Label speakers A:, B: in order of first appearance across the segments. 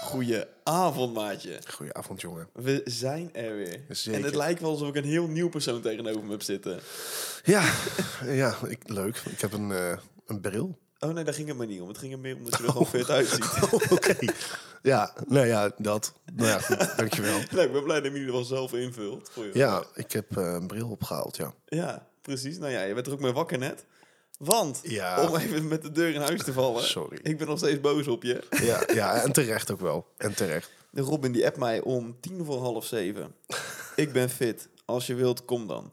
A: Goeie avond, maatje.
B: Goedenavond, jongen.
A: We zijn er weer.
B: Zeker.
A: En het lijkt wel alsof ik een heel nieuw persoon tegenover me heb zitten.
B: Ja, ja ik, leuk. Ik heb een, eh, een bril.
A: Oh nee, daar ging het maar niet om. Het ging er meer om dat je er gewoon fit uitziet.
B: Oh, Oké. Ja, nou ja, dat. Nou ja, goed, dankjewel.
A: nou, ik ben blij dat je hem in ieder geval zelf invult. Voor je.
B: Ja, ik heb eh, een bril opgehaald, ja.
A: Ja, precies. Nou ja, je bent er ook mee wakker net. Want,
B: Ja.
A: om even met de deur in huis te vallen.
B: Sorry.
A: Ik ben nog steeds boos op je.
B: Ja, ja en terecht ook wel. En terecht.
A: De Robin die appt mij om tien voor half zeven. ik ben fit. Als je wilt, kom dan.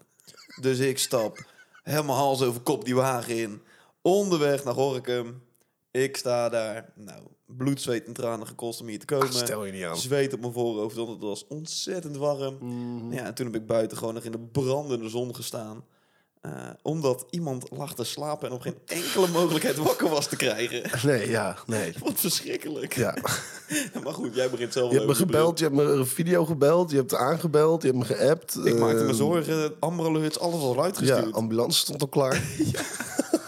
A: Dus ik stap helemaal hals over kop die wagen in. Onderweg naar Horkum. Ik sta daar. Nou, bloed, zweet en tranen gekost om hier te komen.
B: Ach, stel je niet aan.
A: Zweet op mijn voorhoofd, want het was ontzettend warm.
B: Mhm.
A: Ja, en toen heb ik buiten gewoon nog in de brandende zon gestaan. Eh, omdat iemand lag te slapen en op geen enkele mogelijkheid wakker was te krijgen.
B: Nee, ja, nee.
A: Wat verschrikkelijk.
B: Ja.
A: Maar goed, jij begint zelf
B: Je
A: wel
B: hebt me
A: over te brullen.
B: gebeld, je hebt me een video gebeld, je hebt aangebeld, je hebt me geappt.
A: Ik maakte me
B: eh,
A: zorgen, Ambroluts, alles was al
B: Ja,
A: uitgestuurd
B: ambulance stond al klaar.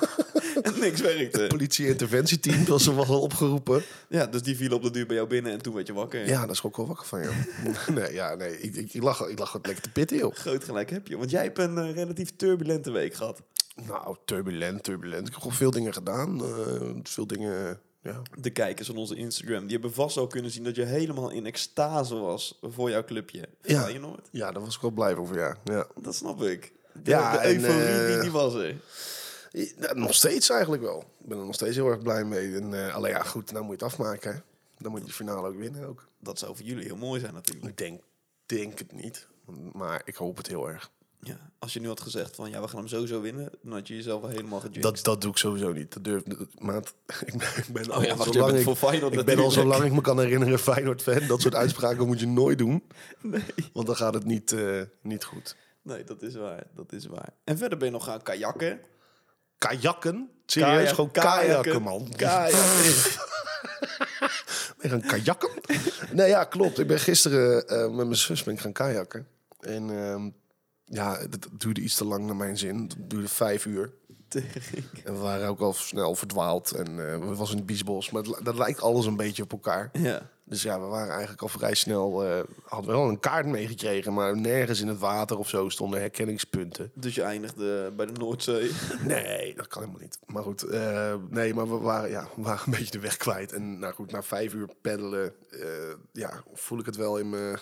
A: en niks werkte.
B: Politie-interventieteam was er wel opgeroepen.
A: Ja, dus die viel op de duur bij jou binnen en toen werd je wakker.
B: Ja, daar schrok ik wel wakker van, joh. Nee, ja, nee. Ik, ik, ik, lag, ik lag gewoon lekker te pitten, joh.
A: Groot gelijk heb je, want jij hebt een eh, relatief turbulente week gehad.
B: Nou, turbulent, turbulent. Ik heb gewoon veel dingen gedaan. eh, veel dingen, ja.
A: De kijkers van onze Instagram, die hebben vast al kunnen zien dat je helemaal in extase was voor jouw clubje.
B: Ja.
A: je nooit?
B: Ja, daar was ik wel blij over, ja. ja.
A: Dat snap ik. De,
B: Ja,
A: de
B: en,
A: euforie, die,
B: eh,
A: die was er.
B: Ja, Nog steeds eigenlijk wel. Ik ben er nog steeds heel erg blij mee. En, eh, alleen ja, goed, nou moet je het afmaken, hè. Dan moet je de finale ook winnen, ook.
A: Dat zou voor jullie heel mooi zijn natuurlijk.
B: Ik denk, denk het niet. Maar ik hoop het heel erg.
A: Ja. Als je nu had gezegd van, ja, we gaan hem sowieso winnen, dan had je jezelf al helemaal gejinxed.
B: Dat, dat doe ik sowieso niet. Dat durf maat. Ik ben, ik ben al
A: Oh ja, wacht,
B: zo
A: jij
B: lang
A: bent
B: ik,
A: voor Feyenoord
B: ik ben al zo
A: natuurlijk.
B: lang ik me kan herinneren Feyenoord fan. Dat soort uitspraken moet je nooit doen,
A: Nee.
B: want dan gaat het niet, eh, niet goed.
A: Nee, dat is waar, dat is waar. En verder ben je nog gaan kajakken.
B: Kajakken? Serieus?
A: Kajak-
B: gewoon kajakken, man.
A: Kajakken.
B: Ben je gaan kajakken? nee, ja, klopt. Ik ben gisteren eh, met mijn zus ben ik gaan kajakken. En ehm, ja, dat duurde iets te lang naar mijn zin. Het duurde vijf uur.
A: Tering.
B: En we waren ook al snel verdwaald. En eh, we was in het biesbos. Maar het li- dat lijkt alles een beetje op elkaar.
A: Ja.
B: Dus ja, we waren eigenlijk al vrij snel... eh, hadden we wel een kaart meegekregen. Maar nergens in het water of zo stonden herkenningspunten.
A: Dus je eindigde bij de Noordzee.
B: Nee, dat kan helemaal niet. Maar goed, eh, nee, maar we waren, ja, we waren een beetje de weg kwijt. En nou goed, na vijf uur peddelen, eh, ja, voel ik het wel in mijn...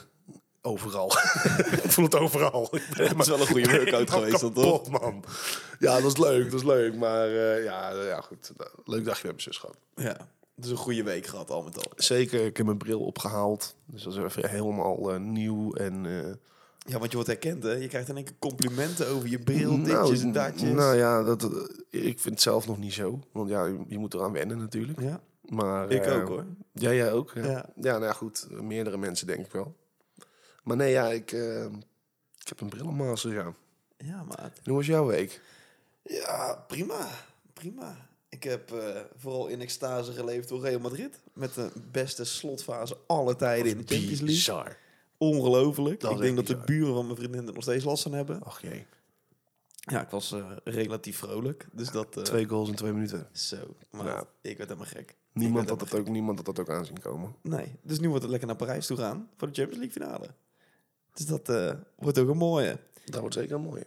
B: Overal. ik voel het overal. Ik ben
A: is wel een goede
B: helemaal-
A: workout
B: ik ben
A: geweest dan,
B: helemaal kapot, man. Ja, dat is leuk, dat is leuk. Maar eh, ja, eh, ja, goed. Nou, Leuk dagje met mijn zus gehad.
A: Ja. Dus een goede week gehad al met al.
B: Zeker, ik heb mijn bril opgehaald. Dus dat is even helemaal eh, nieuw en... eh,
A: Ja, want je wordt herkend, hè? Je krijgt in één keer complimenten over je bril, ditjes en datjes.
B: nou ja, dat, eh, ik vind het zelf nog niet zo. Want ja, je, je moet eraan wennen natuurlijk.
A: ja.
B: Maar,
A: Ik
B: eh,
A: ook, hoor.
B: Ja, jij ook. Ja.
A: Ja.
B: ja. nou ja, goed. Meerdere mensen denk ik wel. Maar nee, ja, ik, eh, ik heb een brillenmaster, ja. En
A: Ja, maat.
B: hoe was jouw week?
A: Ja, prima. Prima. Ik heb eh, vooral in extase geleefd door Real Madrid. Met de beste slotfase alle tijden in de Champions League.
B: Bizar.
A: Ongelooflijk.
B: Dat
A: Ik
B: is
A: denk dat
B: echt
A: de
B: bizar.
A: buren van mijn vriendin er nog steeds last van hebben.
B: Ach jee.
A: Ja, ik was eh, relatief vrolijk. Dus dat... eh,
B: Twee goals in twee minuten.
A: Zo. Maar
B: Ja.
A: ik werd helemaal gek.
B: Nou. Niemand
A: Ik werd
B: had, dat ook, niemand had dat ook aanzien komen.
A: Nee, dus nu wordt het lekker naar Parijs toe gaan voor de Champions League finale. Dus dat eh, wordt ook een mooie.
B: Dat wordt zeker mooi.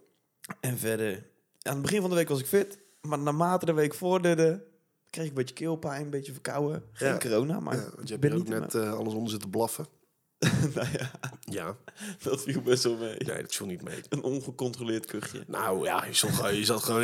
A: En verder, aan het begin van de week was ik fit, maar naarmate de week vorderde, kreeg ik een beetje keelpijn, een beetje verkouden. Geen
B: Ja.
A: corona, maar
B: Ja, want je
A: ik
B: hebt
A: ben
B: hier ook
A: niet
B: net eh, alles onder zitten blaffen.
A: helemaal- nou ja,
B: Ja.
A: dat viel best wel mee.
B: Nee, dat viel niet mee.
A: Een ongecontroleerd kuchje.
B: Nou ja, je zat gewoon... Je zat gewoon,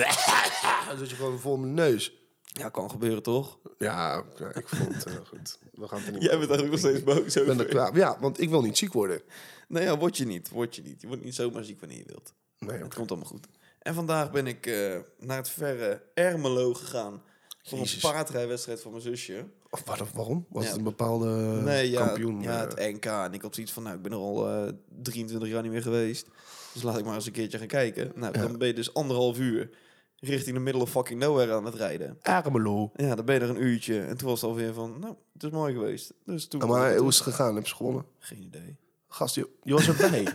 B: Dan zat je gewoon vol mijn neus.
A: Ja, kan gebeuren toch?
B: Ja, ja, ik vond het eh, goed. We gaan het er niet
A: Jij
B: meer
A: bent eigenlijk nog steeds boos
B: over- Ik ben er
A: over.
B: klaar- Ja, want ik wil niet ziek worden.
A: Nou ja, word je niet, word je niet. Je wordt niet zomaar ziek wanneer je wilt.
B: Nee,
A: Het komt allemaal goed. En vandaag ben ik eh, naar het verre Ermelo gegaan. Voor
B: Jezus.
A: een paardrijwedstrijd van mijn zusje.
B: Of waar- waarom? Was
A: Ja.
B: het een bepaalde eh,
A: nee, ja,
B: kampioen?
A: ja,
B: eh,
A: het NK. En ik had zoiets van, nou, ik ben er al eh, 23 jaar niet meer geweest. Dus laat ik maar eens een keertje gaan kijken. Nou,
B: Ja.
A: dan ben je dus anderhalf uur richting de middle of fucking nowhere aan het rijden.
B: Ermelo.
A: Ja, dan ben je er een uurtje. En toen was het alweer van, nou, het is mooi geweest. Dus toen...
B: Maar hoe is het gegaan? Heb ze gewonnen?
A: Geen idee.
B: Gast, je, je was erbij.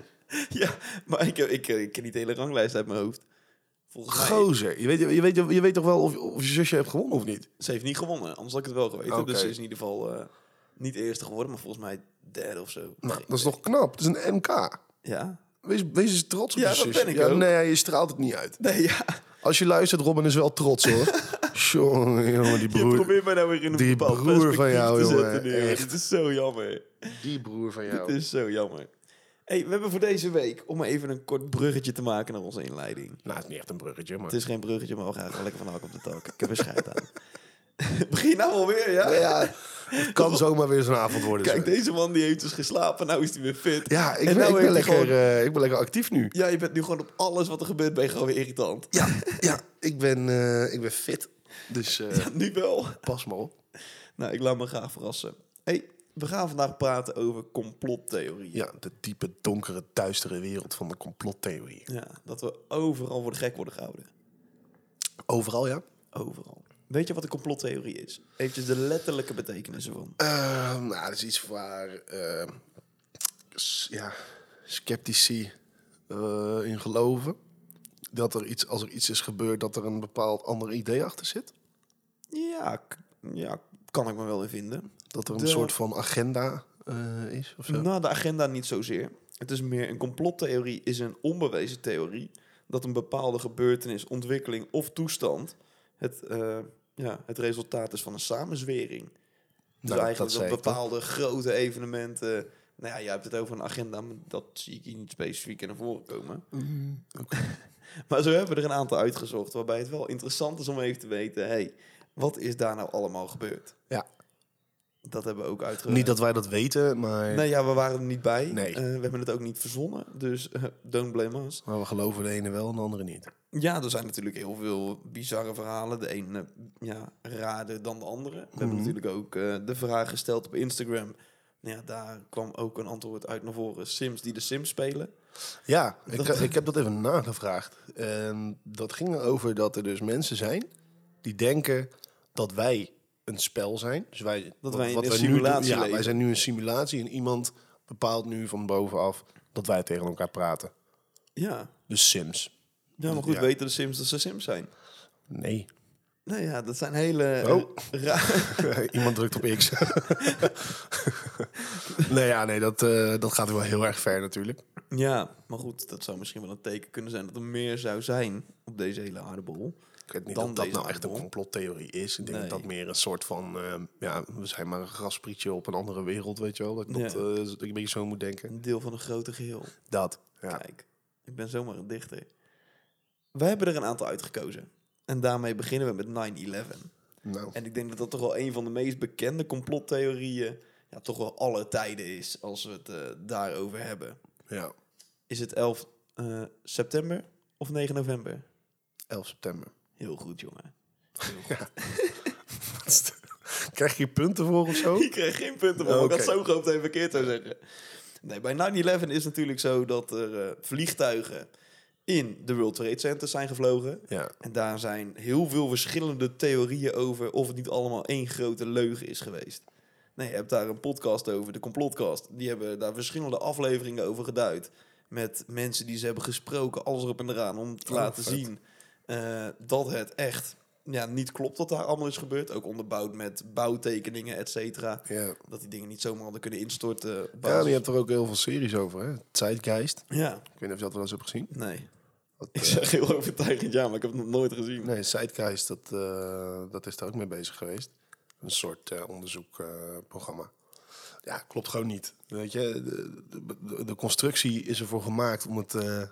A: Ja, maar ik, ik, ik ken niet de hele ranglijst uit mijn hoofd. Volgens mij,
B: Gozer. Je weet, je, weet, je weet toch wel of, of je zusje hebt gewonnen of niet?
A: ze heeft niet gewonnen. Anders had ik het wel geweten.
B: Oké.
A: Dus ze is in ieder geval... eh, Niet eerste geworden, maar volgens mij derde of zo.
B: Nou, dat is nog knap. Het is een MK.
A: Ja?
B: Wees, wees eens trots op
A: Ja,
B: je
A: dat
B: zus.
A: ben ik ook.
B: Nee, je straalt het niet uit.
A: Nee, ja.
B: Als je luistert, Robin is wel trots hoor. Jongen, jongen, die
A: Je
B: broer.
A: probeert mij nou weer in een
B: die
A: bepaald
B: broer van
A: perspectief te
B: jou, jongen,
A: zetten. nu, jongen.
B: echt. Oh.
A: Dit is zo jammer.
B: Die broer van
A: Dit is zo jammer. Hey, we hebben voor deze week, om even een kort bruggetje te maken naar onze inleiding.
B: Nou, het is niet echt een bruggetje, maar...
A: Het is geen bruggetje, maar we gaan gewoon lekker van de hak op de tak. Ik heb er scheid aan. Begin nou alweer, ja?
B: Nou ja, het kan zomaar weer zo'n avond worden.
A: Kijk,
B: zo.
A: deze man die heeft dus geslapen, nou is hij weer fit.
B: Ja, ik
A: En
B: ben,
A: nou
B: ik, ben
A: heeft hij
B: lekker,
A: gewoon-
B: eh, ik ben lekker actief nu.
A: Ja, je bent nu gewoon op alles wat er gebeurt, ben je gewoon weer irritant.
B: Ja, ja ik, ben, eh, ik ben fit. Dus eh,
A: Nu wel.
B: pas maar op.
A: Nou, ik laat me graag verrassen. hey, we gaan vandaag praten over complottheorieën.
B: Ja, de diepe, donkere, duistere wereld van de complottheorie.
A: Ja, dat we overal voor de gek worden gehouden.
B: Overal, ja?
A: Overal. Weet je wat een complottheorie is? Eventjes de letterlijke betekenis ervan.
B: Eh, nou, dat is iets waar eh, s- ja, sceptici eh, in geloven. Dat er iets, als er iets is gebeurd, dat er een bepaald ander idee achter zit.
A: Ja, k- ja kan ik me wel in vinden.
B: Dat er een
A: De-
B: soort van agenda eh, is of zo.
A: Nou, de agenda niet zozeer. Het is meer een complottheorie is een onbewezen theorie dat een bepaalde gebeurtenis, ontwikkeling of toestand het, eh, ja, het resultaat is van een samenzwering. Dus
B: Nou, dat
A: eigenlijk dat,
B: zei ik, toch?
A: bepaalde grote evenementen. Nou ja, jij hebt het over een agenda, maar dat zie ik hier niet specifiek in naar voren komen.
B: Mhm.
A: maar zo hebben we er een aantal uitgezocht, waarbij het wel interessant is om even te weten: hey, wat is daar nou allemaal gebeurd?
B: Ja.
A: Dat hebben we ook uitgezocht.
B: Niet dat wij dat weten, maar,
A: eh, Nee, ja, we waren er niet bij.
B: Nee.
A: Eh, we hebben het ook niet verzonnen, dus eh, don't blame us.
B: maar we geloven de ene wel en de andere niet.
A: Ja, er zijn natuurlijk heel veel bizarre verhalen. De een eh, ja, raarder dan de andere. We
B: Mhm.
A: hebben natuurlijk ook eh, de vraag gesteld op Instagram. Nou Ja, daar kwam ook een antwoord uit naar voren. Sims die de Sims spelen.
B: Ja, ik, ik heb dat even nagevraagd. En dat ging erover dat er dus mensen zijn die denken dat wij een spel zijn. Dus wij,
A: Dat wij in een
B: nu doen-
A: simulatie
B: Ja,
A: leven.
B: wij zijn nu een simulatie en iemand bepaalt nu van bovenaf dat wij tegen elkaar praten.
A: Ja,
B: Dus Sims.
A: ja maar goed,
B: Ja.
A: weten de Sims dat ze Sims zijn?
B: Nee.
A: Nou ja, dat zijn hele eh,
B: Oh.
A: raar-
B: iemand drukt op X. nee, ja, nee, dat, eh, dat gaat wel heel erg ver natuurlijk.
A: Ja, maar goed, dat zou misschien wel een teken kunnen zijn... dat er meer zou zijn op deze hele aardbol.
B: Ik weet niet
A: Dan
B: of dat
A: deze
B: nou echt een
A: aardbol.
B: complottheorie is. Ik denk
A: Nee.
B: dat dat meer een soort van... eh, ja, we zijn maar een grasprietje op een andere wereld, weet je wel. Dat, ik dat,
A: Ja.
B: eh, dat ik een beetje zo moet denken.
A: Een deel van een grote geheel.
B: Dat. Ja.
A: Kijk, ik ben zomaar een dichter. Wij hebben er een aantal uitgekozen. En daarmee beginnen we met 9-11.
B: Nou,
A: En ik denk dat dat toch wel een van de meest bekende complottheorieën... Ja, toch wel alle tijden is, als we het eh, daarover hebben.
B: ja.
A: Is het 11 eh, september of 9 november?
B: 11 september.
A: Heel goed, jongen.
B: Krijg je hier punten voor of zo?
A: Ik kreeg geen punten, maar
B: Oh,
A: ik had
B: oké.
A: zo gehoopt dat hij verkeerd zou zeggen. Nee, bij 9-11 is natuurlijk zo dat er eh, vliegtuigen in de World Trade Center zijn gevlogen.
B: Ja.
A: En daar zijn heel veel verschillende theorieën over of het niet allemaal één grote leugen is geweest. Nee, je hebt daar een podcast over, de complotcast. Die hebben daar verschillende afleveringen over geduid. Met mensen die ze hebben gesproken, alles erop en eraan. Om te
B: Oh,
A: laten
B: vet.
A: zien eh, dat het echt ja, niet klopt wat daar allemaal is gebeurd. Ook onderbouwd met bouwtekeningen, et cetera.
B: Ja.
A: Dat dus- die dingen niet zomaar hadden kunnen instorten. op
B: Ja,
A: basis-
B: je hebt er ook heel veel series over, hè? Zeitgeist.
A: ja,
B: Ik weet niet of je dat wel eens hebt gezien.
A: nee.
B: Dat,
A: Ik
B: eh,
A: zeg heel overtuigend ja, maar ik heb het nog nooit gezien.
B: nee, Zeitgeist, dat, eh, dat is daar ook mee bezig geweest. Een soort eh, onderzoekprogramma. ja, klopt gewoon niet. Weet je, de, de- de constructie is ervoor gemaakt om het, eh,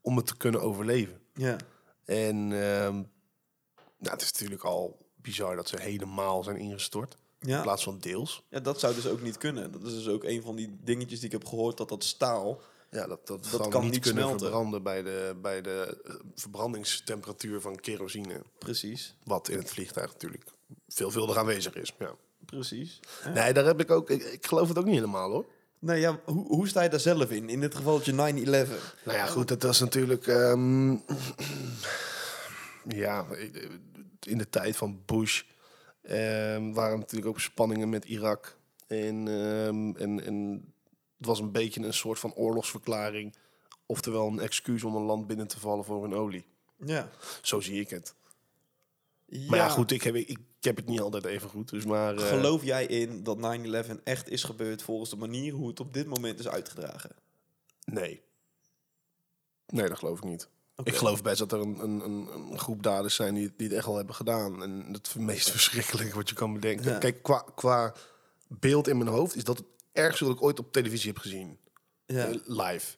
B: om het te kunnen overleven.
A: Ja.
B: En ehm, nou, het is natuurlijk al bizar dat ze helemaal zijn ingestort. In
A: Ja.
B: plaats van deels.
A: Ja, dat zou dus ook niet kunnen. Dat is dus ook een van die dingetjes die ik heb gehoord, dat dat staal...
B: Ja, dat, dat,
A: kan
B: kan niet
A: niet
B: kunnen
A: smelten.
B: verbranden bij de, bij de eh, verbrandingstemperatuur van kerosine.
A: Precies,
B: Wat in het vliegtuig natuurlijk veelvuldig aanwezig is. Ja.
A: precies.
B: Nee, daar heb ik ook. Ik, ik geloof het ook niet helemaal hoor.
A: Nou ja, hoe, hoe sta je daar zelf in? In dit gevaltje 9-11.
B: Nou ja, goed, dat was natuurlijk. ehm, ja, in de tijd van Bush ehm, waren natuurlijk ook spanningen met Irak. En, ehm, en, en het was een beetje een soort van oorlogsverklaring. Oftewel een excuus om een land binnen te vallen voor hun olie.
A: Ja.
B: Zo zie ik het. Maar ja, goed, ik heb, ik, ik heb het niet altijd even goed. Dus maar, eh,
A: Geloof jij in dat 9-11 echt is gebeurd volgens de manier hoe het op dit moment is uitgedragen?
B: Nee. Nee, dat geloof ik niet.
A: Oké.
B: Ik geloof best dat er een, een, een, een groep daders zijn die, die het echt al hebben gedaan. En het meest verschrikkelijke wat je kan bedenken.
A: Ja.
B: Kijk, qua, qua beeld in mijn hoofd is dat het ergste dat ik ooit op televisie heb gezien.
A: Ja.
B: Eh, Live.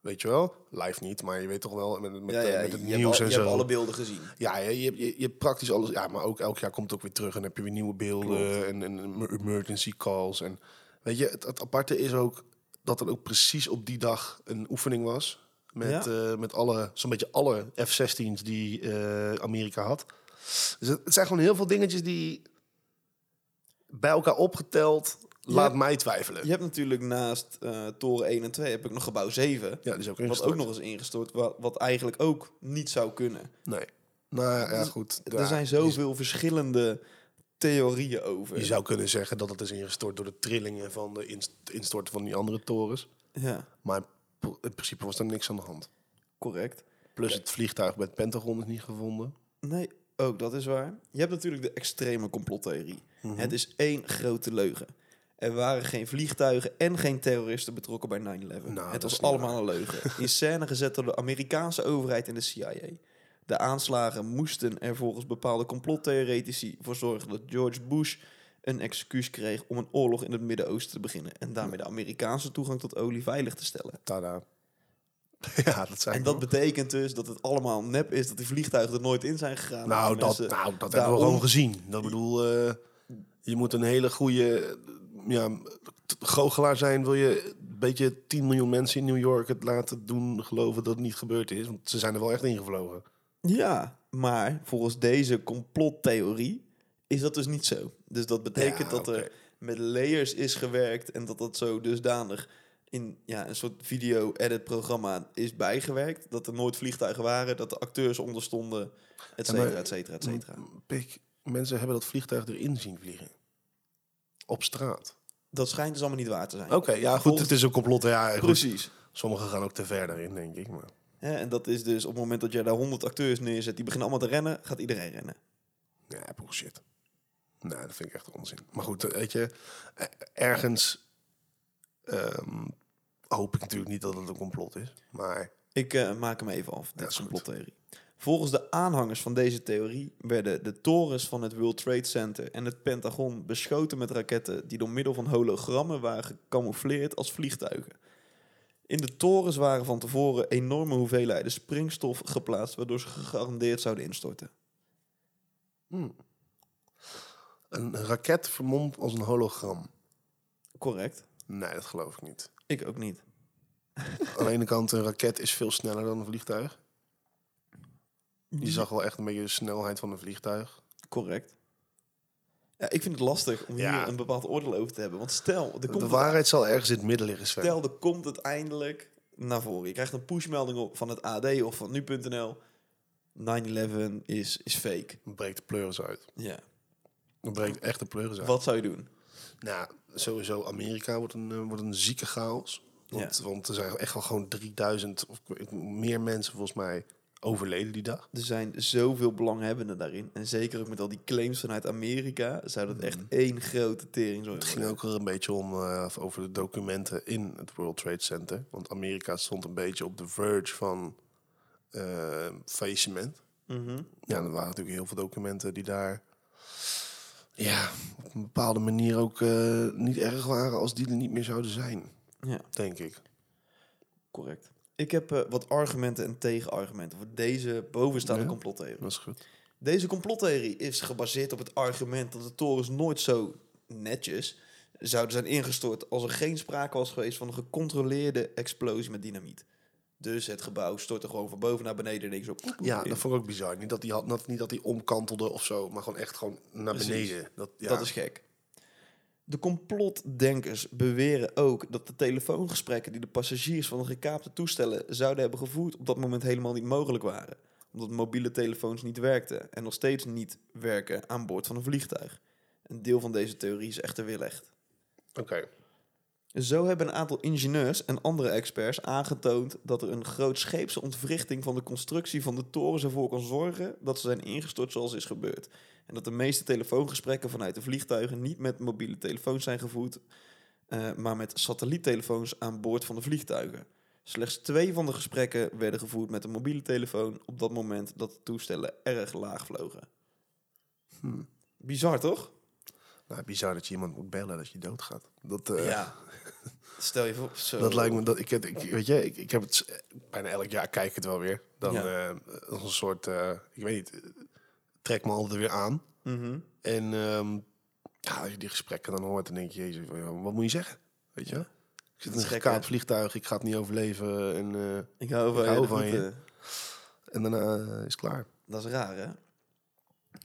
B: Weet je wel? Live niet, maar je weet toch wel met, met,
A: Ja, ja,
B: eh, met het
A: je hebt
B: nieuws
A: al-
B: en
A: Je
B: zo.
A: hebt alle beelden gezien.
B: Ja, je, je, je, je hebt praktisch alles. Ja, maar ook elk jaar komt het ook weer terug en heb je weer nieuwe beelden en, en emergency calls. En weet je, het, het aparte is ook dat er ook precies op die dag een oefening was. Met, eh, met alle, zo'n beetje alle F-16's die eh, Amerika had. Dus het, het zijn gewoon heel veel dingetjes die bij elkaar opgeteld laat mij twijfelen.
A: Je hebt natuurlijk naast eh, Toren 1 en 2 heb ik nog gebouw 7.
B: Ja, die is ook
A: Wat
B: ingestort.
A: ook nog eens ingestort, wat, wat eigenlijk ook niet zou kunnen.
B: Nee. Nou ja, goed.
A: er
B: Ja,
A: zijn zoveel verschillende theorieën over.
B: Je zou kunnen zeggen dat het is ingestort door de trillingen van de inst- instorten van die andere torens.
A: Ja,
B: Maar pro- in principe was er niks aan de hand.
A: correct.
B: Plus het vliegtuig bij het Pentagon is niet gevonden.
A: Nee, ook dat is waar. Je hebt natuurlijk de extreme complottheorie.
B: Mhm.
A: Het is één grote leugen. Er waren geen vliegtuigen en geen terroristen betrokken bij 9-11.
B: Nou, dat
A: het
B: is
A: was
B: niet
A: allemaal een leugen. In scène gezet door de Amerikaanse overheid en de CIA. De aanslagen moesten er volgens bepaalde complottheoretici voor zorgen dat George Bush een excuus kreeg om een oorlog in het Midden-Oosten te beginnen. En daarmee de Amerikaanse toegang tot olie veilig te stellen.
B: Tada. ja, dat zijn
A: En dat betekent dus dat het allemaal nep is, dat die vliegtuigen er nooit in zijn gegaan.
B: nou, dat,
A: mensen
B: nou, dat hebben
A: daarom-
B: we gewoon gezien. Dat bedoel, eh, je moet een hele goede eh, ja, t- goochelaar zijn. Wil je een beetje 10 miljoen mensen in New York het laten doen geloven dat het niet gebeurd is? Want ze zijn er wel echt ingevlogen.
A: Ja, maar volgens deze complottheorie is dat dus niet zo. Dus dat betekent
B: Ja,
A: dat
B: oké.
A: er met layers is gewerkt en dat dat zo dusdanig in ja, een soort video-edit-programma is bijgewerkt. Dat er nooit vliegtuigen waren, dat de acteurs onderstonden, et
B: Ja, maar- Mm.
A: cetera, et cetera, et cetera.
B: Pik, mensen hebben dat vliegtuig erin zien vliegen. Op straat.
A: Dat schijnt dus allemaal niet waar te zijn.
B: Oké, ja goed, het is een complot. Ja, goed.
A: Precies.
B: Sommigen gaan ook te ver daarin, denk ik. Maar...
A: Hè, en dat is dus op het moment dat jij daar 100 acteurs neerzet, die beginnen allemaal te rennen, gaat iedereen rennen.
B: Ja, bullshit. Nee, dat vind ik echt onzin. Maar goed, eh, weet je, eh, ergens ehm, hoop ik natuurlijk niet dat het een complot is. Maar
A: Ik eh, maak hem even af. Dit
B: Ja,
A: is
B: is
A: een
B: goed.
A: plottheorie. Volgens de aanhangers van deze theorie werden de torens van het World Trade Center en het Pentagon beschoten met raketten die door middel van hologrammen waren gecamoufleerd als vliegtuigen. In de torens waren van tevoren enorme hoeveelheden springstof geplaatst, waardoor ze gegarandeerd zouden instorten.
B: een raket vermomd als een hologram.
A: Correct.
B: Nee, dat geloof ik niet.
A: Ik ook niet.
B: Aan de ene kant, een raket is veel sneller dan een vliegtuig. Je zag wel echt een beetje de snelheid van een vliegtuig.
A: Correct. Ja, ik vind het lastig om
B: Ja.
A: hier een bepaald oordeel over te hebben. Want stel, er komt
B: De
A: een
B: waarheid zal ergens in het midden liggen, Sven.
A: Stel, er komt uiteindelijk naar voren. Je krijgt een pushmelding op van het AD of van nu.nl. 9-11 is, is fake.
B: Dan breekt de pleuris uit.
A: Ja.
B: Dan breekt echt de pleuris uit.
A: Wat zou je doen?
B: Nou, sowieso Amerika wordt een, eh, wordt een zieke chaos. Want,
A: Ja.
B: want er zijn echt wel gewoon 3000 of ik weet- meer mensen volgens mij overleden die dag.
A: Er zijn zoveel belanghebbenden daarin. En zeker ook met al die claims vanuit Amerika... zou dat echt één grote tering
B: Het
A: zijn.
B: ging ook wel een beetje om eh, over de documenten in het World Trade Center. Want Amerika stond een beetje op de verge van eh, faillissement. Ja, er waren natuurlijk heel veel documenten die daar ja, op een bepaalde manier ook eh, niet erg waren als die er niet meer zouden zijn,
A: Ja,
B: denk ik.
A: correct. Ik heb eh, wat argumenten en tegenargumenten... voor deze bovenstaande
B: Ja.
A: complottheorie.
B: Dat is goed.
A: Deze complottheorie is gebaseerd op het argument dat de torens nooit zo netjes zouden zijn ingestort als er geen sprake was geweest van een gecontroleerde explosie met dynamiet. Dus het gebouw stortte gewoon van boven naar beneden en ik zo. poep, poep,
B: Ja,
A: in.
B: dat vond ik ook bizar. Niet dat die, had, dat, niet dat die omkantelde of zo, maar gewoon echt gewoon naar
A: Precies.
B: beneden. Dat, ja.
A: dat is gek. De complotdenkers beweren ook dat de telefoongesprekken die de passagiers van de gekaapte toestellen zouden hebben gevoerd op dat moment helemaal niet mogelijk waren. Omdat mobiele telefoons niet werkten en nog steeds niet werken aan boord van een vliegtuig. Een deel van deze theorie is echter weerlegd.
B: Oké.
A: Zo hebben een aantal ingenieurs en andere experts aangetoond dat er een grootscheepse ontwrichting van de constructie van de torens ervoor kan zorgen dat ze zijn ingestort zoals is gebeurd. En dat de meeste telefoongesprekken vanuit de vliegtuigen niet met mobiele telefoons zijn gevoerd, eh, maar met satelliettelefoons aan boord van de vliegtuigen. Slechts twee van de gesprekken werden gevoerd met een mobiele telefoon op dat moment dat de toestellen erg laag vlogen.
B: Hmm.
A: Bizar toch?
B: Nou, bizar dat je iemand moet bellen dat je doodgaat. Dat, eh,
A: Ja. Stel je voor. Zo.
B: dat lijkt me dat ik, het- ik weet je, ik, ik heb het s- bijna elk jaar kijk ik het wel weer. Dan
A: Ja.
B: eh, als een soort, eh, ik weet niet, eh, trek me altijd weer aan.
A: Mhm.
B: En ehm, ja, als je die gesprekken dan hoort, dan denk je, jezus, wat moet je zeggen? Weet je? wel? Ik zit in
A: is
B: een
A: gek,
B: gekaapt
A: hè?
B: vliegtuig, ik ga het niet overleven. En, eh,
A: Ik hou van
B: Ik
A: je.
B: hou
A: dat
B: van
A: moet,
B: je.
A: eh,
B: en daarna eh, is het klaar.
A: Dat is raar, hè?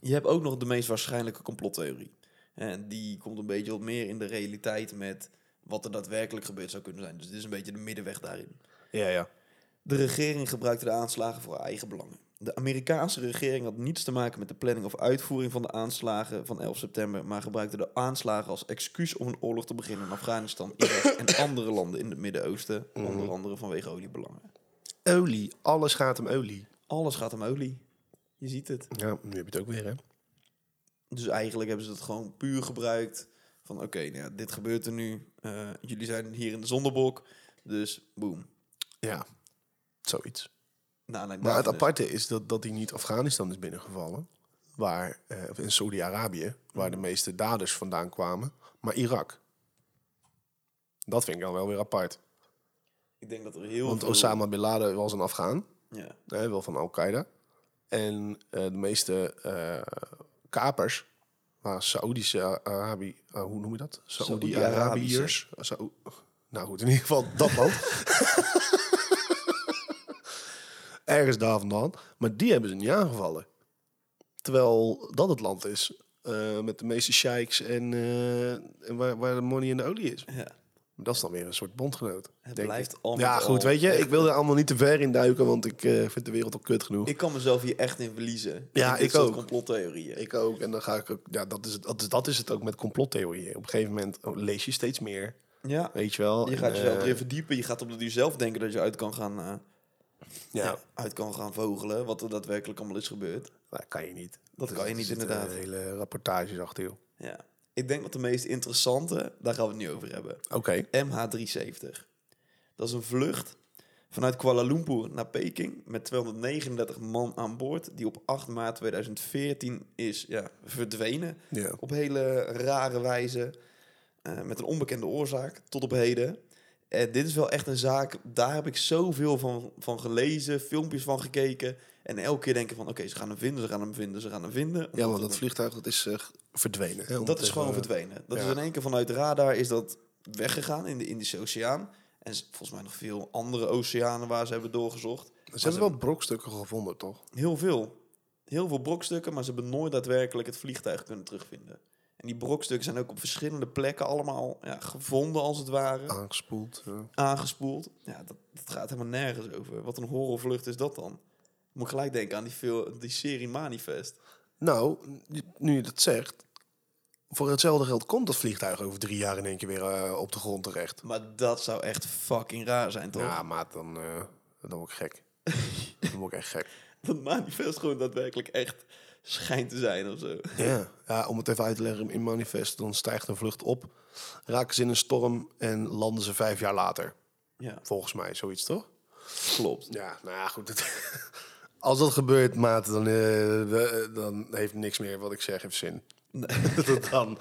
A: Je hebt ook nog de meest waarschijnlijke complottheorie. En die komt een beetje wat meer in de realiteit met wat er daadwerkelijk gebeurd zou kunnen zijn. Dus dit is een beetje de middenweg daarin.
B: Ja, ja.
A: De regering gebruikte de aanslagen voor haar eigen belangen. De Amerikaanse regering had niets te maken met de planning of uitvoering van de aanslagen van 11 september, maar gebruikte de aanslagen als excuus om een oorlog te beginnen in Afghanistan, Irak en andere landen in het Midden-Oosten,
B: Mhm.
A: onder andere vanwege oliebelangen.
B: Olie, alles gaat om olie.
A: Alles gaat om olie. Je ziet het.
B: Ja, nu heb je het ook weer, hè?
A: Dus eigenlijk hebben ze het gewoon puur gebruikt. Van oké, nou ja, dit gebeurt er nu. Eh, jullie zijn hier in de zondebok. Dus boom.
B: Ja, zoiets.
A: Nou, nee,
B: Maar het
A: daarvan
B: aparte is dat, dat hij niet Afghanistan is binnengevallen. Waar, eh, of in Saudi-Arabië, waar de meeste daders vandaan kwamen. Maar Irak. Dat vind ik dan wel weer apart.
A: dus- Ik denk dat er heel
B: Want
A: veel...
B: Osama Bin Laden was een Afghaan.
A: Ja.
B: hè, wel van Al-Qaeda. En eh, de meeste eh, kapers waren Saoedische Arabië. hoe noem je dat? Saoedi-Arabiërs. Saoe- nou goed, in ieder geval dat land. Ergens daar vandaan. Maar die hebben ze niet aangevallen. Terwijl dat het land is eh, met de meeste sheiks en, eh, en waar, waar de money en de olie is.
A: ja.
B: Maar dat is dan weer een soort bondgenoot.
A: Het
B: denk
A: blijft
B: ik.
A: allemaal
B: Ja, goed,
A: al
B: weet je.
A: echt-
B: Ik wil er allemaal niet te ver in duiken, want ik eh, vind de wereld al kut genoeg. Ik,
A: Ik kan mezelf hier echt in verliezen.
B: Ja,
A: In dit
B: ik
A: soort
B: ook.
A: complottheorieën.
B: ook. En dan ga ik ook... Ja, dat is, het, dat, is, dat is het ook met complottheorieën. Op een gegeven moment oh, lees je steeds meer,
A: Ja.
B: weet je wel.
A: Je
B: En,
A: gaat jezelf
B: eh,
A: erin verdiepen. Je gaat op de duur zelf denken dat je uit kan gaan, eh,
B: Ja,
A: ja, uit kan gaan vogelen. Wat er daadwerkelijk allemaal is gebeurd.
B: dat kan je niet.
A: Dat
B: Er
A: kan je niet,
B: zitten
A: inderdaad.
B: hele rapportages achter, joh.
A: Ja. Ik denk dat de meest interessante, daar gaan we het nu over hebben.
B: Oké.
A: MH370. Dat is een vlucht vanuit Kuala Lumpur naar Peking met 239 man aan boord, die op 8 maart 2014 is ja, verdwenen.
B: Ja.
A: Op hele rare wijze, eh, met een onbekende oorzaak tot op heden. En dit is wel echt een zaak, daar heb ik zoveel van, van gelezen, filmpjes van gekeken. En elke keer denken van, oké, ze gaan hem vinden, ze gaan hem vinden, ze gaan hem vinden.
B: Ja,
A: Omdat
B: want
A: het
B: dat vliegtuig dat is eh, verdwenen. hè, om
A: dat
B: het
A: is gewoon
B: even-
A: verdwenen. Dat
B: ja.
A: is in één keer vanuit de radar is dat weggegaan in de Indische Oceaan. En s- volgens mij nog veel andere oceanen waar ze hebben doorgezocht. Maar
B: Ze hebben wel brokstukken gevonden, toch?
A: heel veel. Heel veel brokstukken, maar ze hebben nooit daadwerkelijk het vliegtuig kunnen terugvinden. En die brokstukken zijn ook op verschillende plekken allemaal ja, gevonden, als het ware.
B: Aangespoeld. eh. ja.
A: Aangespoeld. Ja, dat, dat gaat helemaal nergens over. Wat een horrorvlucht is dat dan? Ik moet gelijk denken aan die, fil- die serie Manifest.
B: Nou, nu je dat zegt... Voor hetzelfde geld komt dat vliegtuig over drie jaar in één keer weer eh, op de grond terecht.
A: Maar dat zou echt fucking raar zijn, toch?
B: Ja, maat, dan, eh, dan word ik gek. dan word ik echt gek.
A: dat manifest gewoon daadwerkelijk echt schijnt te zijn of zo.
B: Ja. ja, om het even uit te leggen, in Manifest dan stijgt een vlucht op, raken ze in een storm en landen ze vijf jaar later.
A: Ja,
B: Volgens mij, zoiets toch?
A: klopt.
B: Ja, nou ja, goed. het- als dat gebeurt, maat, dan, eh, we- dan heeft niks meer wat ik zeg heeft zin. dan,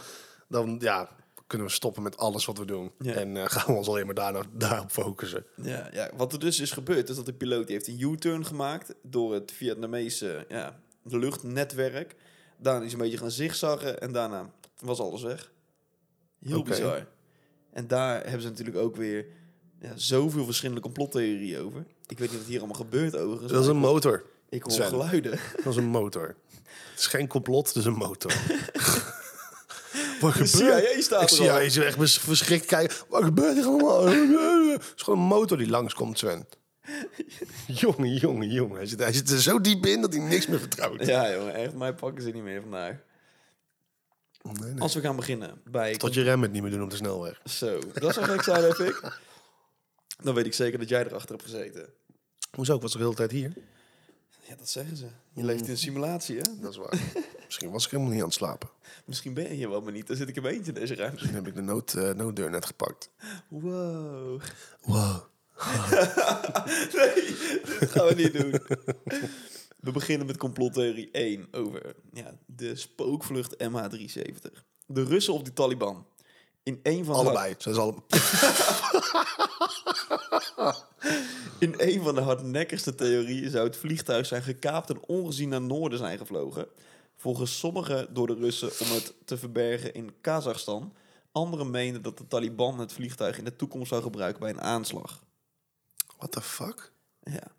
B: dan ja, kunnen we stoppen met alles wat we doen.
A: Ja.
B: En eh, gaan we ons alleen maar daarna, daarop focussen.
A: Ja, ja, wat er dus is gebeurd, is dat de piloot die heeft een U-turn gemaakt door het Vietnamese ja, luchtnetwerk. Daarna is hij een beetje gaan zigzaggen en daarna was alles weg. Heel
B: Oké.
A: bizar. En daar hebben ze natuurlijk ook weer ja, zoveel verschillende complottheorieën over. Ik weet niet wat hier allemaal gebeurt overigens.
B: Dat is
A: maar
B: een motor.
A: ik hoor
B: Sven.
A: geluiden.
B: Dat is een motor. Het is geen complot, het is een motor.
A: De
B: Wat gebeurt
A: CIA staat
B: Ik
A: er
B: zie
A: al.
B: jou eens echt bes- verschrikt kijken. Wat gebeurt er allemaal? Het is gewoon een motor die langskomt, Sven. jongen, jongen, jongen. Hij zit, hij zit er zo diep in dat hij niks meer vertrouwt.
A: Ja, jongen, echt. Mij pakken ze niet meer vandaag.
B: Oh, Nee, nee.
A: Als we gaan beginnen bij...
B: Tot je rem het niet meer doen op de snelweg.
A: Zo, dat zou gek zijn, heb ik. Dan weet ik zeker dat jij erachter hebt gezeten.
B: Hoezo? Ik was toch de hele tijd hier?
A: Ja, dat zeggen ze. Je leeft in een simulatie, hè?
B: Dat is waar. Misschien was ik helemaal niet aan het slapen.
A: Misschien ben je hier wel, maar niet. Dan zit ik in mijn eentje in deze ruimte.
B: Toen heb ik de nood, eh, nooddeur net gepakt.
A: Wow.
B: Wow.
A: Nee, dat gaan we niet doen. We beginnen met complottheorie 1 over ja, de spookvlucht MH370. De Russen of de Taliban. In een van de,
B: Allebei. Ze is alle...
A: in een van de hardnekkigste theorieën zou het vliegtuig zijn gekaapt en ongezien naar noorden zijn gevlogen. Volgens sommigen door de Russen om het te verbergen in Kazachstan. Anderen menen dat de Taliban het vliegtuig in de toekomst zou gebruiken bij een aanslag.
B: What the fuck?
A: Ja.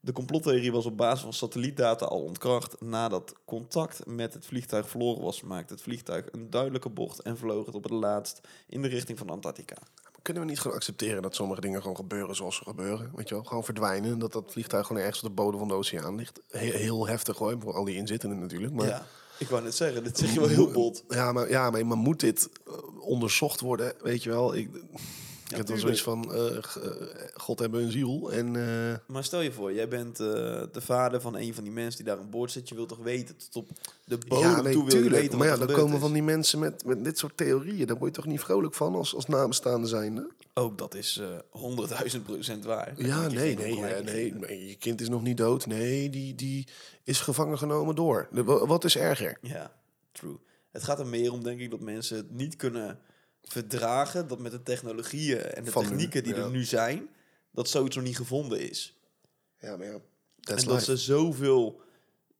A: De complottheorie was op basis van satellietdata al ontkracht. Nadat contact met het vliegtuig verloren was, maakte het vliegtuig een duidelijke bocht en vloog het op het laatst in de richting van Antarctica.
B: Kunnen we niet gewoon accepteren dat sommige dingen gewoon gebeuren zoals ze gebeuren? Weet je wel, gewoon verdwijnen. en Dat dat vliegtuig gewoon ergens op de bodem van de oceaan ligt. Heel, heel heftig hoor, voor al die inzittenden natuurlijk. Maar
A: Ja, ik wou net zeggen, dit zeg je wel heel bot.
B: Ja, maar, ja, maar, maar moet dit eh, onderzocht worden? Weet je wel, ik, ik heb dan
A: tuurlijk.
B: zoiets van... eh, g- eh, God hebben een ziel en... eh,
A: Maar stel je voor, jij bent eh, de vader van een van die mensen die daar aan boord zit. Je wilt toch weten, tot op de bodem
B: nee,
A: toe wil je
B: tuurlijk.
A: weten
B: Maar ja,
A: wat er
B: dan
A: gebeurd
B: komen
A: is.
B: van die mensen met, met dit soort theorieën. Daar word je toch niet vrolijk van als, als nabestaande zijnde?
A: Ook dat is eh, honderdduizend procent waar. Daar
B: Ja,
A: kan ik je
B: nee,
A: geen
B: nee,
A: ongelijk
B: eh,
A: in
B: nee,
A: geven.
B: nee, Je kind is nog niet dood. Nee, die, die is gevangen genomen door. De- wa- Wat is erger?
A: Ja, true. Het gaat er meer om, denk ik, dat mensen het niet kunnen verdragen dat met de technologieën en de
B: Van nu,
A: technieken die
B: ja.
A: er nu zijn, dat zoiets nog niet gevonden is.
B: Ja, maar ja.
A: en dat ze zoveel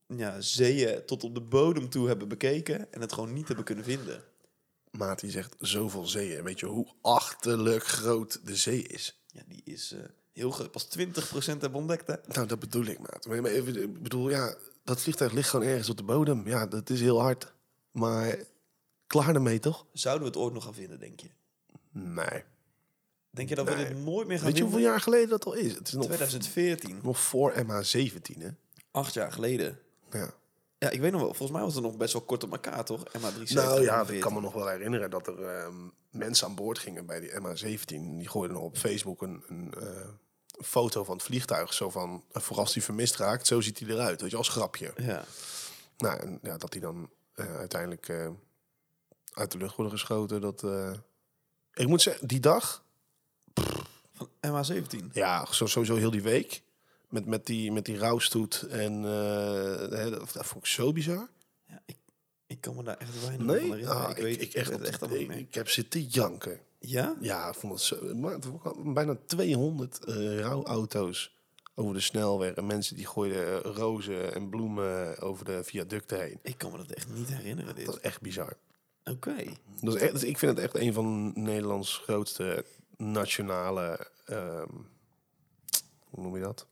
A: ja, zeeën tot op de bodem toe hebben bekeken en het gewoon niet hebben kunnen vinden.
B: Maat, die zegt zoveel zeeën. Weet je hoe achterlijk groot de zee is?
A: Ja, die is eh, heel groot. Pas 20% hebben ontdekt, hè?
B: Nou, dat bedoel ik, maat. Maar, maar even, ik bedoel, ja, dat vliegtuig ligt gewoon ergens op de bodem. Ja, dat is heel hard. Maar klaar ermee, toch?
A: Zouden we het ooit nog gaan vinden, denk je?
B: Nee.
A: Denk je dat we
B: Nee.
A: dit nooit meer gaan
B: Weet
A: vinden?
B: je hoeveel jaar geleden dat al is? Het is nog,
A: 2014,
B: nog voor MH17, hè?
A: acht jaar geleden.
B: Ja.
A: Ja, ik weet nog wel. Volgens mij was het nog best wel kort op elkaar, toch? MH370.
B: Nou ja, ik
A: 14.
B: kan me nog wel herinneren dat er ehm, mensen aan boord gingen bij die MH17. Die gooiden op Facebook een, een eh, foto van het vliegtuig. Zo van, eh, voor als die vermist raakt, zo ziet hij eruit. Weet je, als grapje.
A: Ja.
B: Nou, en ja, dat die dan eh, uiteindelijk eh, uit de lucht worden geschoten. Dat, eh, ik moet zeggen, die dag,
A: MH17.
B: ja, zo- sowieso heel die week. Met, met, die, met die rouwstoet en eh, hè, dat, dat vond ik zo bizar.
A: Ja, ik, ik kan me daar echt weinig van
B: Nee,
A: herinneren.
B: Ah,
A: ik weet ik echt,
B: op-
A: het echt allemaal niet
B: ik,
A: meer.
B: ik heb zitten janken.
A: Ja?
B: Ja, ik vond het zo, maar het waren bijna 200 eh, rouwauto's over de snelweg. En mensen die gooiden eh, rozen en bloemen over de viaducten heen.
A: Ik kan me dat echt niet herinneren, dit.
B: Dat
A: Oké.
B: is echt bizar. Dat is echt, dus ik vind het echt een van Nederlands grootste nationale... ehm, hoe noem je dat?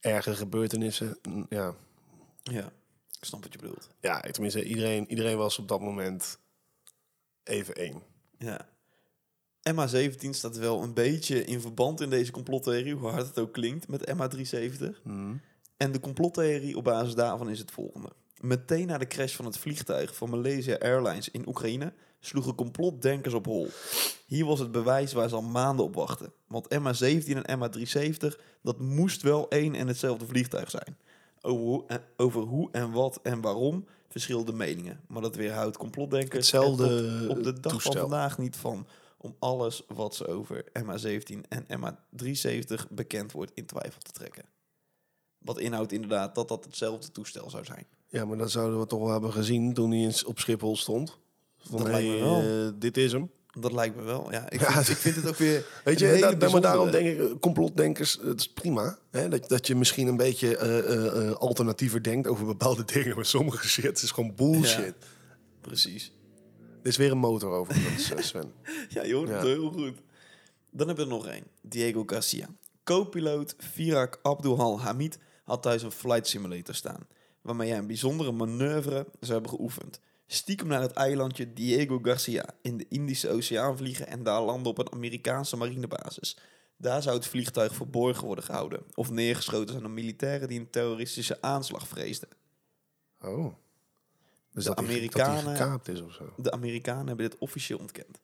B: Erge gebeurtenissen. Mm, Ja,
A: Ja. Ik snap wat je bedoelt.
B: ja tenminste, iedereen, iedereen was op dat moment even één.
A: Ja. MH17 staat wel een beetje in verband in deze complottheorie, hoe hard het ook klinkt, met MH370. En de complottheorie op basis daarvan is het volgende. Meteen na de crash van het vliegtuig van Malaysia Airlines in Oekraïne sloegen complotdenkers op hol. Hier was het bewijs waar ze al maanden op wachten. Want MH17 en MH370, dat moest wel één en hetzelfde vliegtuig zijn. Over hoe, eh, over hoe en wat en waarom verschillende meningen. Maar dat weerhoudt complotdenkers
B: Hetzelfde
A: en tot op de dag
B: toestel.
A: van vandaag niet van om alles wat ze over MH17 en MH370 bekend wordt in twijfel te trekken. Wat inhoudt inderdaad dat dat hetzelfde toestel zou zijn.
B: Ja, maar dat zouden we toch wel hebben gezien toen hij eens op Schiphol stond. Van,
A: Dat
B: hey,
A: lijkt me wel.
B: eh, dit is hem.
A: Dat lijkt me wel. Ja, ik,
B: Ja,
A: Vind, ik vind het ook weer.
B: Weet
A: een
B: je,
A: hele
B: da- da- maar
A: bijzondere.
B: daarom denk ik, eh, complotdenkers, het is prima. Hè? Dat, dat je misschien een beetje eh, eh, eh, alternatiever denkt over bepaalde dingen. Maar sommige shit is gewoon bullshit.
A: Precies.
B: Er is weer een motor overigens, eh, Sven.
A: Ja, je hoort het
B: Ja.
A: heel goed. Dan hebben we er nog één. Diego Garcia. Co-piloot Firak Abdulhal Hamid had thuis een flight simulator staan. Waarmee hij een bijzondere manoeuvre zou hebben geoefend. Stiekem naar het eilandje Diego Garcia in de Indische Oceaan vliegen en daar landen op een Amerikaanse marinebasis. Daar zou het vliegtuig verborgen worden gehouden of neergeschoten zijn door militairen die een terroristische aanslag vreesden.
B: Oh, Dus
A: De
B: dat die- dat die
A: Amerikanen-
B: gekaapt is of zo.
A: De Amerikanen hebben dit officieel ontkend.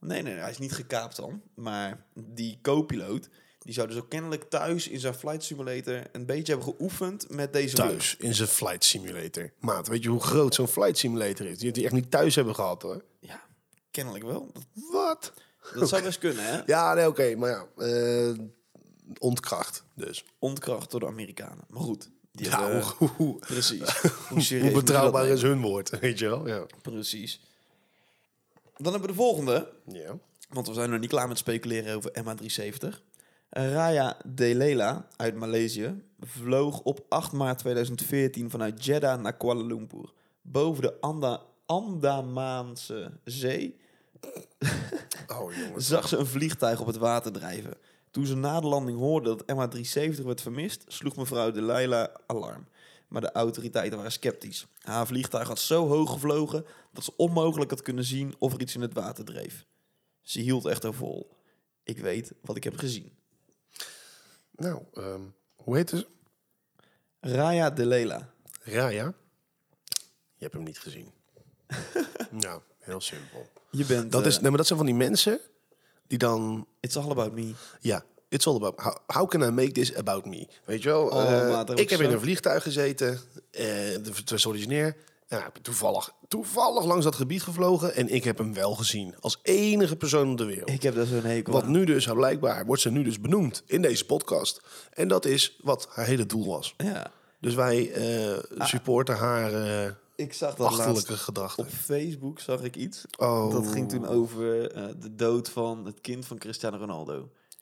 A: Nee, nee, nee, hij is niet gekaapt dan. Maar die co-piloot, die zou dus ook kennelijk thuis in zijn flight simulator een beetje hebben geoefend met deze lucht.
B: Thuis in zijn flight simulator. Dus. Maat, weet je hoe groot zo'n flight simulator is? Die die echt niet thuis hebben gehad hoor.
A: Ja, kennelijk wel. Dat,
B: Wat?
A: dat zou best kunnen, hè?
B: Ja, nee, oké, maar ja. eh, ontkracht dus.
A: Ontkracht door de Amerikanen. Maar goed. Die
B: Ja,
A: hebben-
B: hoe, hoe,
A: precies. Hoe, serieus moet
B: hoe
A: je dat
B: betrouwbaar
A: nemen?
B: is hun woord, weet je wel? Ja.
A: Precies. Dan hebben we de volgende.
B: ja.
A: Want we zijn nog niet klaar met speculeren over MH370. Raya Delela uit Maleisië vloog op 8 maart 2014 vanuit Jeddah naar Kuala Lumpur. Boven de Anda Andamaanse zee
B: Oh jongens.
A: zag ze een vliegtuig op het water drijven. Toen ze na de landing hoorde dat MH370 werd vermist, sloeg mevrouw Delilah alarm. Maar de autoriteiten waren sceptisch. Haar vliegtuig had zo hoog gevlogen dat ze onmogelijk had kunnen zien of er iets in het water dreef. Ze hield echter vol. Ik weet wat ik heb gezien.
B: Nou, ehm, hoe heet ze?
A: Raya Delilah.
B: Raya. Je hebt hem niet gezien. ja, heel simpel.
A: Je bent...
B: Dat
A: eh,
B: is, nee, maar dat zijn van die mensen die dan,
A: It's all about me.
B: ja, it's all about, how, how can I make this about me? Weet je wel,
A: Oh,
B: eh,
A: maat, dat
B: ik heb
A: was
B: in
A: zo.
B: een vliegtuig gezeten, eh, de- het was originair. Ja, ik ben toevallig, toevallig langs dat gebied gevlogen en ik heb hem wel gezien. Als enige persoon op de wereld.
A: Ik heb daar zo'n hekel
B: Wat
A: aan.
B: nu dus, blijkbaar, wordt ze nu dus benoemd in deze podcast. En dat is wat haar hele doel was.
A: Ja.
B: Dus wij eh, supporten haar eh
A: Ik zag Ah. dat laatst
B: achterlijke gedachten.
A: op Facebook zag ik iets.
B: Oh.
A: Dat ging toen over eh, de dood van het kind van Cristiano Ronaldo.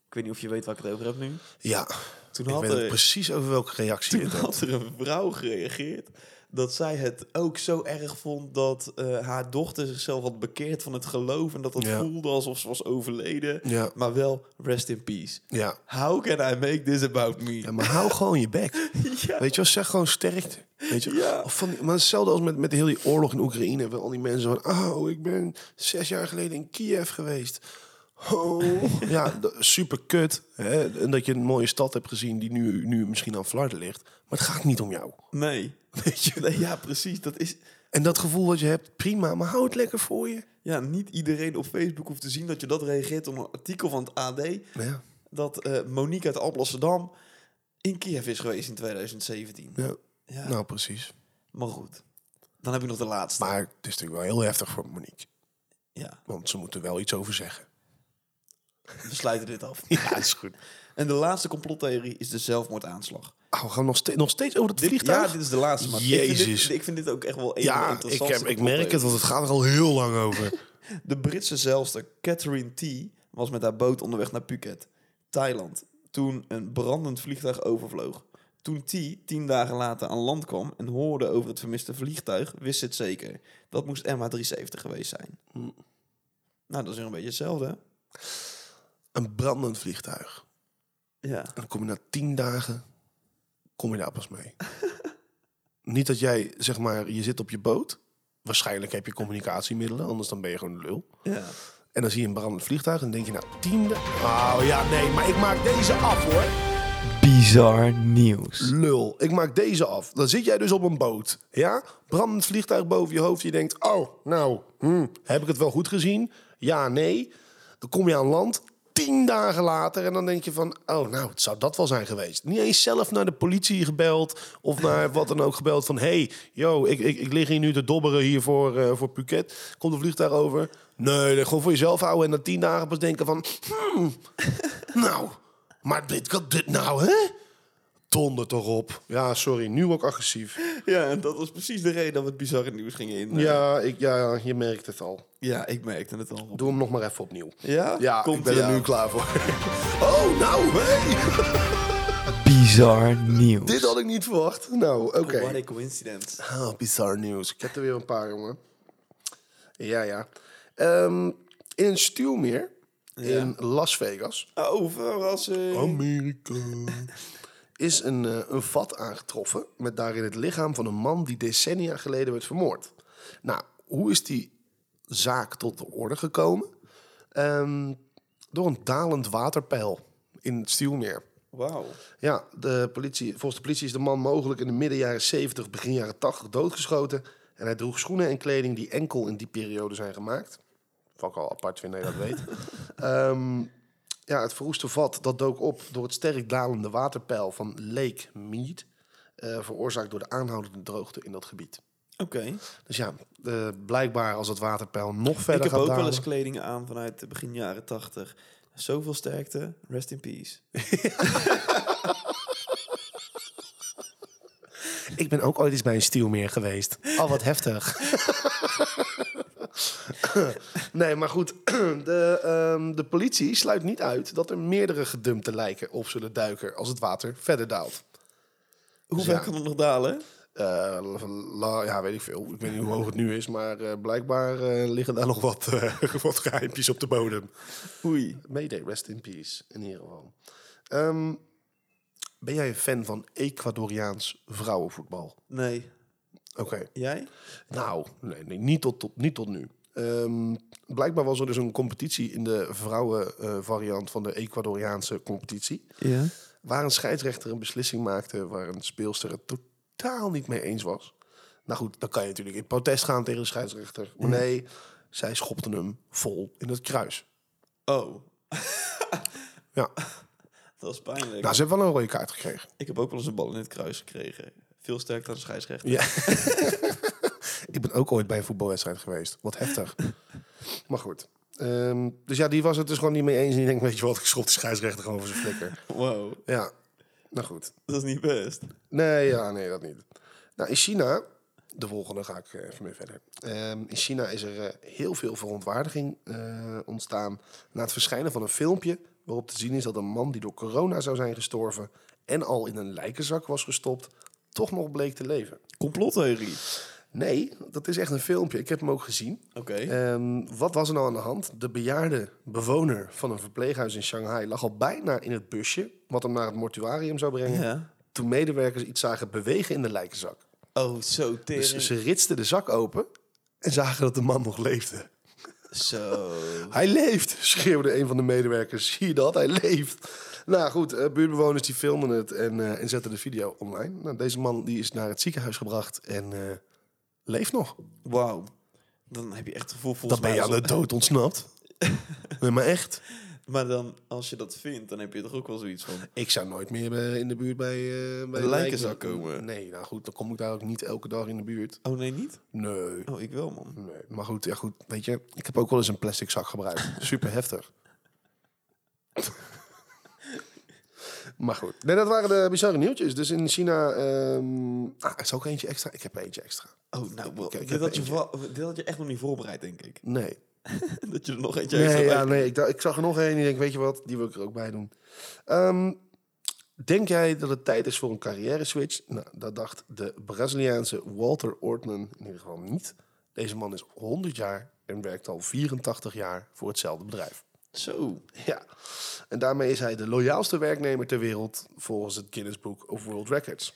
A: Ik weet niet of je weet waar ik het over heb nu.
B: Ja,
A: Toen
B: ik
A: had
B: weet
A: er-
B: ook precies over welke reactie
A: Toen
B: het
A: had er een vrouw gereageerd dat zij het ook zo erg vond dat eh, haar dochter zichzelf had bekeerd van het geloof en dat het
B: Ja.
A: voelde alsof ze was overleden.
B: Ja.
A: Maar wel rest in peace.
B: Ja.
A: How can I make this about me?
B: ja, maar hou gewoon je bek.
A: Ja.
B: Weet je wel, zeg gewoon sterkte. Weet je?
A: Ja.
B: Of Van, die- maar hetzelfde als met, met heel die oorlog in Oekraïne. Van al die mensen van, oh, ik ben zes jaar geleden in Kiev geweest. Oh. ja, d- super kut. Hè? En dat je een mooie stad hebt gezien die nu, nu misschien aan flarden ligt. Maar het gaat niet om jou.
A: Nee.
B: Weet je?
A: Nee, Ja, precies. Dat is.
B: En dat gevoel wat je hebt, prima. Maar hou het lekker voor je.
A: Ja, niet iedereen op Facebook hoeft te zien dat je dat reageert op een artikel van het AD.
B: Ja.
A: Dat eh, Monique uit Alblasserdam in Kiev is geweest in 2017.
B: ja.
A: Ja,
B: Nou, precies.
A: maar goed. Dan heb ik nog de laatste.
B: Maar het is natuurlijk wel heel heftig voor Monique.
A: Ja,
B: Want ze moeten wel iets over zeggen.
A: we sluiten dit af.
B: Ja, is goed.
A: En de laatste complottheorie is de zelfmoordaanslag.
B: Oh, we gaan nog, ste- nog steeds over dat
A: Dit, ja,
B: vliegtuig?
A: dit is de laatste. Maar Ik, vind
B: Jezus.
A: dit, ik vind dit ook echt wel een van de
B: Ja, ik,
A: interessantste
B: heb, ik merk het,
A: complottheories.
B: want het gaat er al heel lang over.
A: De Britse zeilster Catherine T. was met haar boot onderweg naar Phuket, Thailand, toen een brandend vliegtuig overvloog. Toen T tien dagen later aan land kwam en hoorde over het vermiste vliegtuig, wist ze het zeker. Dat moest MH370 geweest zijn. Nou, dat is weer een beetje hetzelfde. hè?
B: Een brandend vliegtuig.
A: Ja.
B: En dan kom je na tien dagen, kom je daar pas mee. Niet dat jij, zeg maar, je zit op je boot. Waarschijnlijk heb je communicatiemiddelen, anders dan ben je gewoon een lul.
A: ja.
B: En dan zie je een brandend vliegtuig en dan denk je, nou, tiende... Oh ja, nee, maar ik maak deze af, hoor.
A: Bizar nieuws.
B: Lul, ik maak deze af. Dan zit jij dus op een boot, ja? Brandend vliegtuig boven je hoofd. Je denkt, oh, nou, hmm, heb ik het wel goed gezien? Ja, nee. Dan kom je aan land, tien dagen later... en dan denk je van, oh, nou, het zou dat wel zijn geweest. Niet eens zelf naar de politie gebeld of naar wat dan ook gebeld... van, hey, yo, ik, ik, ik lig hier nu te dobberen hier voor, eh, voor Phuket. Komt een vliegtuig over? Nee, gewoon voor jezelf houden en na tien dagen pas denken van... hmm, nou, maar dit kan dit nou, hè? donder toch op. Ja, sorry, nu ook agressief.
A: Ja, en dat was precies de reden dat we het bizarre nieuws gingen in. eh.
B: Ja, ik, ja, je merkt het al.
A: Ja, ik merkte het al.
B: Doe hem nog maar even opnieuw.
A: Ja?
B: Ja,
A: Komt
B: ik ben
A: ie
B: er
A: aan.
B: nu klaar voor. Oh, nou, hey!
A: Bizar nieuws.
B: Dit had ik niet verwacht. Nou, oké.
A: What a coincidence.
B: Ah, bizar nieuws. Ik heb er weer een paar, jongen. Ja, ja. Ehm, in een stuwmeer in Las Vegas...
A: Oh, verrassing.
B: Amerika. Is een, eh, een vat aangetroffen met daarin het lichaam van een man die decennia geleden werd vermoord. Nou, hoe is die zaak tot de orde gekomen? Ehm, door een dalend waterpeil in het Stielmeer.
A: Wauw.
B: Ja, de politie, volgens de politie is de man mogelijk in de midden jaren 70, begin jaren 80 doodgeschoten. En hij droeg schoenen en kleding die enkel in die periode zijn gemaakt. Wat ik al apart vind dat je dat weet. Ehm, ja, het verroeste vat dat dook op door het sterk dalende waterpeil van Lake Mead. eh, veroorzaakt door de aanhoudende droogte in dat gebied.
A: Oké.
B: Dus ja, eh, blijkbaar als het waterpeil nog
A: Ik
B: verder
A: heb
B: gaat
A: ook wel
B: dalen...
A: eens kleding aan vanuit de begin jaren tachtig. Zoveel sterkte. Rest in peace.
B: Ik ben ook ooit eens bij een stielmeer geweest. Al wat heftig. nee, maar goed. De, ehm, de politie sluit niet uit dat er meerdere gedumpte lijken op zullen duiken als het water verder daalt.
A: Hoe
B: Dus
A: ver
B: ja.
A: kan het nog dalen?
B: Eh, la- ja, weet ik veel. Ik weet niet hoe hoog het nu is, maar eh, blijkbaar eh, liggen daar nog wat, eh wat geheimpjes op de bodem.
A: Oei.
B: Mayday, rest in peace, in ieder geval. Ehm, ben jij een fan van Ecuadoriaans vrouwenvoetbal?
A: Nee.
B: Oké.
A: Jij?
B: Nou, nee, nee, niet, tot, tot, niet tot nu. Ehm, blijkbaar was er dus een competitie in de vrouwenvariant van de Ecuadoriaanse competitie.
A: Ja.
B: Waar een scheidsrechter een beslissing maakte waar een speelster het totaal niet mee eens was. Nou goed, dan kan je natuurlijk in protest gaan tegen de scheidsrechter. Maar nee, zij schopte hem vol in het kruis.
A: Oh.
B: Ja,
A: Dat is pijnlijk.
B: nou, ze heeft wel een rode kaart gekregen.
A: Ik heb ook wel eens een bal in het kruis gekregen. Veel sterker dan de scheidsrechter.
B: Ja. ik ben ook ooit bij een voetbalwedstrijd geweest. Wat heftig. maar goed. Ehm, dus ja, die was het dus gewoon niet mee eens. En die denkt, weet je wat, ik schop de scheidsrechter gewoon voor zijn flikker.
A: Wow.
B: Ja, nou goed.
A: Dat is niet best.
B: Nee, ja, nee, dat niet. Nou, in China, de volgende ga ik eh, even mee verder. Ehm, in China is er eh, heel veel verontwaardiging eh, ontstaan na het verschijnen van een filmpje waarop te zien is dat een man die door corona zou zijn gestorven en al in een lijkenzak was gestopt, toch nog bleek te leven.
A: Complottheorie.
B: Nee, dat is echt een filmpje. Ik heb hem ook gezien.
A: Oké.
B: Ehm, wat was er nou aan de hand? De bejaarde bewoner van een verpleeghuis in Shanghai lag al bijna in het busje, wat hem naar het mortuarium zou brengen,
A: Ja.
B: toen medewerkers iets zagen bewegen in de lijkenzak.
A: Oh, zo tering.
B: Dus ze ritsten de zak open en zagen dat de man nog leefde. Dus-
A: Zo.
B: Hij leeft, schreeuwde een van de medewerkers. Zie je dat? Hij leeft. Nou goed, eh, buurtbewoners die filmden het en, eh, en zetten de video online. Nou, deze man die is naar het ziekenhuis gebracht en eh, leeft nog.
A: Wauw. Dan heb je echt het gevoel volgens
B: Dat ben je
A: mij
B: aan
A: alsof-
B: de dood ontsnapt. nee, maar echt.
A: Maar dan, als je dat vindt, dan heb je toch ook wel zoiets van...
B: Ik zou nooit meer eh, in de buurt bij, eh bij
A: Een lijkenzak komen.
B: Nee, nou goed, dan kom ik daar ook niet elke dag in de buurt.
A: Oh, nee, niet?
B: Nee.
A: Oh, ik wel, man.
B: nee. Maar goed, ja, goed, weet je, ik heb ook wel eens een plastic zak gebruikt. Super heftig. maar goed. Nee, dat waren de bizarre nieuwtjes. Dus in China... ehm ah, is er ook eentje extra? Ik heb er eentje extra.
A: Oh, nou, wel,
B: ik heb
A: dit, had je
B: eentje.
A: va- dit had je echt nog niet voorbereid, denk ik.
B: Nee.
A: dat je er nog eentje extra
B: Nee,
A: bij-
B: ja, nee ik, dacht- ik zag er nog één en ik denk, weet je wat, die wil ik er ook bij doen. Ehm, denk jij dat het tijd is voor een carrière switch? Nou, dat dacht de Braziliaanse Walter Ortman in ieder geval niet. Deze man is 100 jaar en werkt al 84 jaar voor hetzelfde bedrijf.
A: Zo.
B: Ja, en daarmee is hij de loyaalste werknemer ter wereld volgens het Guinness Book of World Records.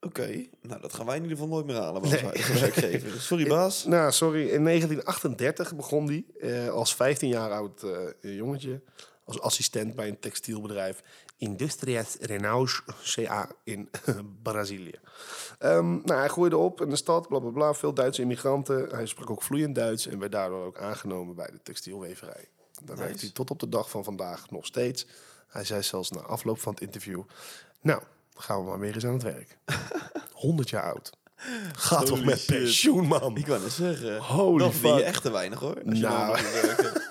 A: Oké. Nou, dat gaan wij in ieder geval nooit meer halen. Als wij- als wij geven. Dus Sorry, baas.
B: Nou, sorry, in 1938 begon hij eh, als 15 jaar oud eh, jongetje als assistent bij een textielbedrijf Industrias Renaus CA in Brazilië. Ehm, nou, hij groeide op in de stad, bla bla bla, veel Duitse immigranten. Hij sprak ook vloeiend Duits en werd daardoor ook aangenomen bij de textielweverij. Daar werkt hij tot op de dag van vandaag nog steeds. Hij zei zelfs na afloop van het interview: Nou, gaan we maar weer eens aan het werk. 100 jaar oud. Ga toch
A: Holy
B: met
A: shit.
B: pensioen, man.
A: Ik wou net zeggen.
B: Holy
A: dat vind je
B: fuck.
A: echt te weinig, hoor. Als
B: Nou.
A: je dan moet werken. Oké,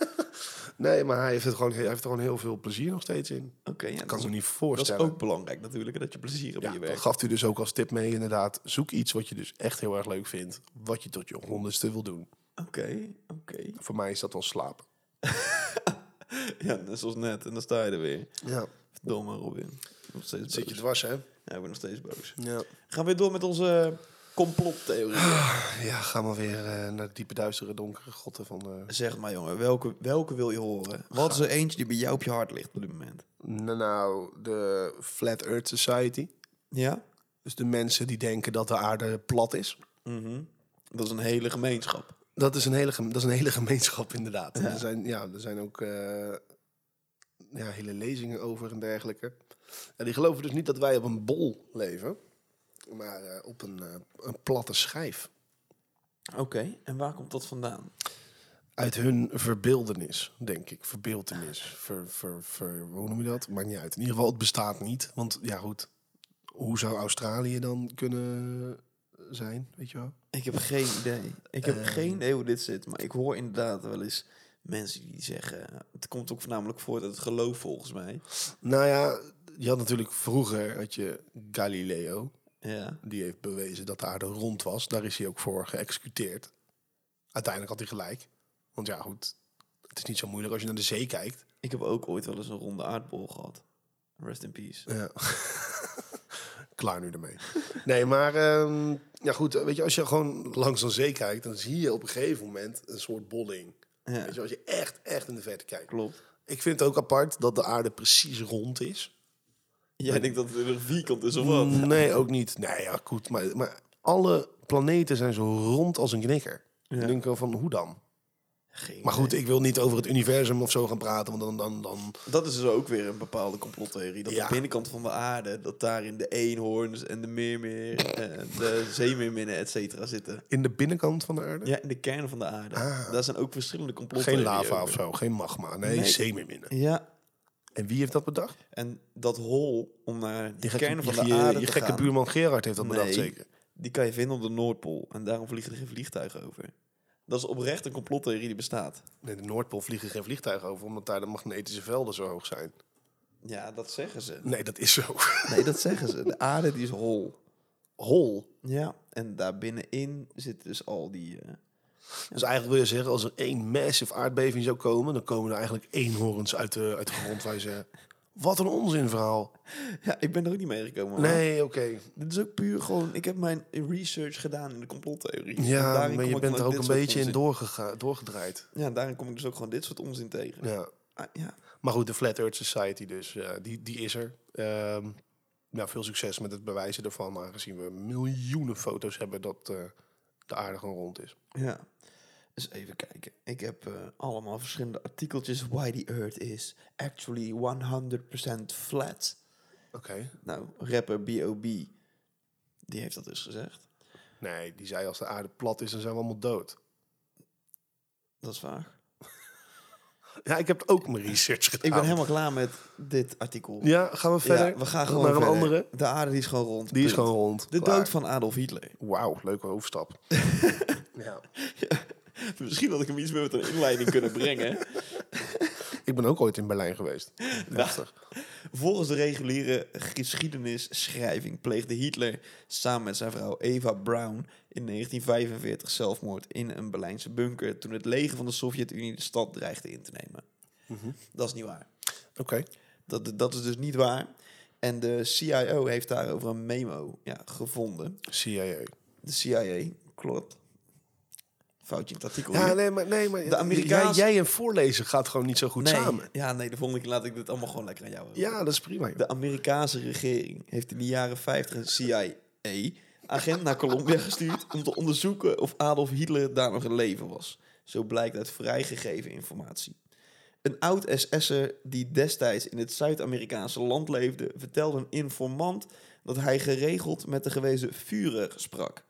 B: Nee, maar hij heeft, het gewoon, hij heeft er gewoon heel veel plezier nog steeds in.
A: ja,
B: Ik kan
A: dat,
B: me niet
A: dat is
B: voorstellen.
A: ook belangrijk natuurlijk. hè, Dat je plezier hebt
B: ja,
A: in je
B: dat
A: werk.
B: gaf u dus ook als tip mee, inderdaad. Zoek iets wat je dus echt heel erg leuk vindt. Wat je tot je honderdste wil doen.
A: Oké, oké.
B: Voor mij is dat wel slapen.
A: Ja, net zoals net. En dan sta je er weer.
B: Ja.
A: Verdomme, Robin. Ik ben Nog steeds
B: Zit je
A: boos.
B: dwars, hè?
A: Ja, ik ben nog steeds boos.
B: Ja.
A: Gaan we weer door met onze eh, complottheorie.
B: Ja, ga maar weer eh, naar de diepe, duistere, donkere grotten van... eh,
A: Zeg maar, jongen. Welke, welke wil je horen? Wat is er eentje die bij jou op je hart ligt op dit moment?
B: nou, nou, de Flat Earth Society.
A: Ja?
B: Dus de mensen die denken dat de aarde plat is.
A: Mhm. Dat is een hele gemeenschap.
B: Dat is een hele, gem- dat is een hele gemeenschap, inderdaad. Er, zijn, ja, er zijn ook eh, ja, hele lezingen over en dergelijke. Ja, die geloven dus niet dat wij op een bol leven, maar eh, op een, eh, een platte schijf.
A: Oké, en waar komt dat vandaan?
B: Uit hun verbeeldenis, denk ik. Verbeeldenis. Ver, ver, ver, hoe noem je dat? Maakt niet uit. In ieder geval, het bestaat niet. Want ja, goed. Hoe zou Australië dan kunnen zijn? Weet je wel?
A: Ik heb geen idee. Ik heb
B: Eh.
A: geen idee hoe dit zit. Maar ik hoor inderdaad wel eens mensen die zeggen... Het komt ook voornamelijk voort uit het geloof volgens mij.
B: Nou ja, je had natuurlijk vroeger had je Galileo.
A: Ja.
B: Die heeft bewezen dat de aarde rond was. Daar is hij ook voor geëxecuteerd. Uiteindelijk had hij gelijk. Want ja, goed. Het is niet zo moeilijk als je naar de zee kijkt.
A: Ik heb ook ooit wel eens een ronde aardbol gehad. Rest in peace.
B: Ja. Klaar nu ermee. Nee, maar ehm, ja goed, weet je, als je gewoon langs een zee kijkt, dan zie je op een gegeven moment een soort bolling.
A: Ja,
B: Weet je, als je echt, echt in de verte kijkt.
A: klopt.
B: Ik vind het ook apart dat de aarde precies rond is. Mm,
A: Jij denkt dat het een vierkant is of wat?
B: Nee, ook niet. Nee, ja, goed, maar, maar alle planeten zijn zo rond als een knikker.
A: Ja.
B: Ik denk wel van, hoe dan?
A: Geen
B: Maar goed,
A: idee.
B: ik wil niet over het universum of zo gaan praten, want dan, dan, dan
A: dat is dus ook weer een bepaalde complottheorie. Dat
B: Ja.
A: de binnenkant van de aarde, dat daarin de eenhoorns en de meermeer, en de zeemeerminnen, et cetera, zitten.
B: in de binnenkant van de aarde.
A: Ja, in de kern van de aarde.
B: Ah.
A: Daar zijn ook verschillende complottheorieën
B: Geen lava of
A: over.
B: zo, geen magma, nee,
A: Nee.
B: zeemeerminnen.
A: Ja,
B: En wie heeft dat bedacht?
A: En dat hol om naar de
B: Die gekke,
A: kern van
B: je-
A: de
B: je-
A: aarde
B: je
A: te
B: gekke
A: gaan,
B: buurman Gerard heeft dat bedacht,
A: Nee.
B: zeker.
A: die kan je vinden op de Noordpool. En daarom vliegen er geen vliegtuigen over. Dat is oprecht een complottheorie die bestaat.
B: Nee, de Noordpool vliegen geen vliegtuigen over, omdat daar de magnetische velden zo hoog zijn.
A: Ja, dat zeggen ze.
B: Nee, dat is zo.
A: Nee, dat zeggen ze. De aarde die is hol.
B: Hol.
A: Ja, en daar binnenin zitten dus al die... eh,
B: Dus eigenlijk wil je zeggen, als er één massive aardbeving zou komen, dan komen er eigenlijk eenhoorns uit de, uit de grond. Wij zeggen, wat een onzinverhaal.
A: Ja, ik ben er ook niet mee gekomen. man.
B: Nee, oké.
A: Dit is ook puur gewoon... Ik heb mijn research gedaan in de complottheorie. En
B: Ja,
A: daarin
B: maar
A: kom
B: je
A: ik
B: bent er
A: dan
B: ook
A: dit
B: een
A: soort
B: beetje in
A: onzin-
B: doorgega- doorgedraaid.
A: Ja, daarin kom ik dus ook gewoon dit soort onzin tegen.
B: Ja.
A: Ah, ja.
B: Maar goed, de Flat Earth Society dus, eh, die, die is er. Ehm, nou, veel succes met het bewijzen daarvan, aangezien we miljoenen foto's hebben dat eh, de aarde gewoon rond is.
A: Ja. Dus even kijken. Ik heb eh, allemaal verschillende artikeltjes. Why the Earth is actually 100% flat.
B: Oké.
A: Nou, rapper B.O.B. Die heeft dat dus gezegd.
B: Nee, die zei als de aarde plat is, dan zijn we allemaal dood.
A: Dat is waar.
B: Ja, ik heb ook mijn research gedaan.
A: Ik ben helemaal klaar met dit artikel.
B: Ja, gaan we
A: Ja,
B: verder?
A: we gaan gewoon
B: naar een
A: verder.
B: andere.
A: De aarde die is gewoon rond.
B: Die is
A: punt.
B: gewoon rond.
A: De
B: Klaar.
A: dood van Adolf Hitler.
B: Wauw, leuke overstap. ja.
A: Misschien had ik hem iets meer met een inleiding kunnen brengen.
B: Ik ben ook ooit in Berlijn geweest. Heftig.
A: Volgens de reguliere geschiedenisschrijving pleegde Hitler samen met zijn vrouw Eva Braun in 1945 zelfmoord in een Berlijnse bunker toen het leger van de Sovjet-Unie de stad dreigde in te nemen.
B: Mhm.
A: Dat is niet waar.
B: Oké.
A: Dat, dat is dus niet waar. En de CIO heeft daarover een memo ja, gevonden.
B: CIA.
A: De CIA, klopt. Foutje in het artikel.
B: Ja,
A: hier.
B: nee, maar, nee, maar
A: De Amerikaans-
B: jij, jij en voorlezen gaat gewoon niet zo goed samen.
A: ja, nee, de volgende keer laat ik dit allemaal gewoon lekker aan jou over.
B: Ja, dat is prima. joh.
A: De Amerikaanse regering heeft in de jaren 50 een CIA-agent naar Colombia gestuurd om te onderzoeken of Adolf Hitler daar nog in leven was. Zo blijkt uit vrijgegeven informatie. Een oud SS'er die destijds in het Zuid-Amerikaanse land leefde, vertelde een informant dat hij geregeld met de gewezen Führer sprak.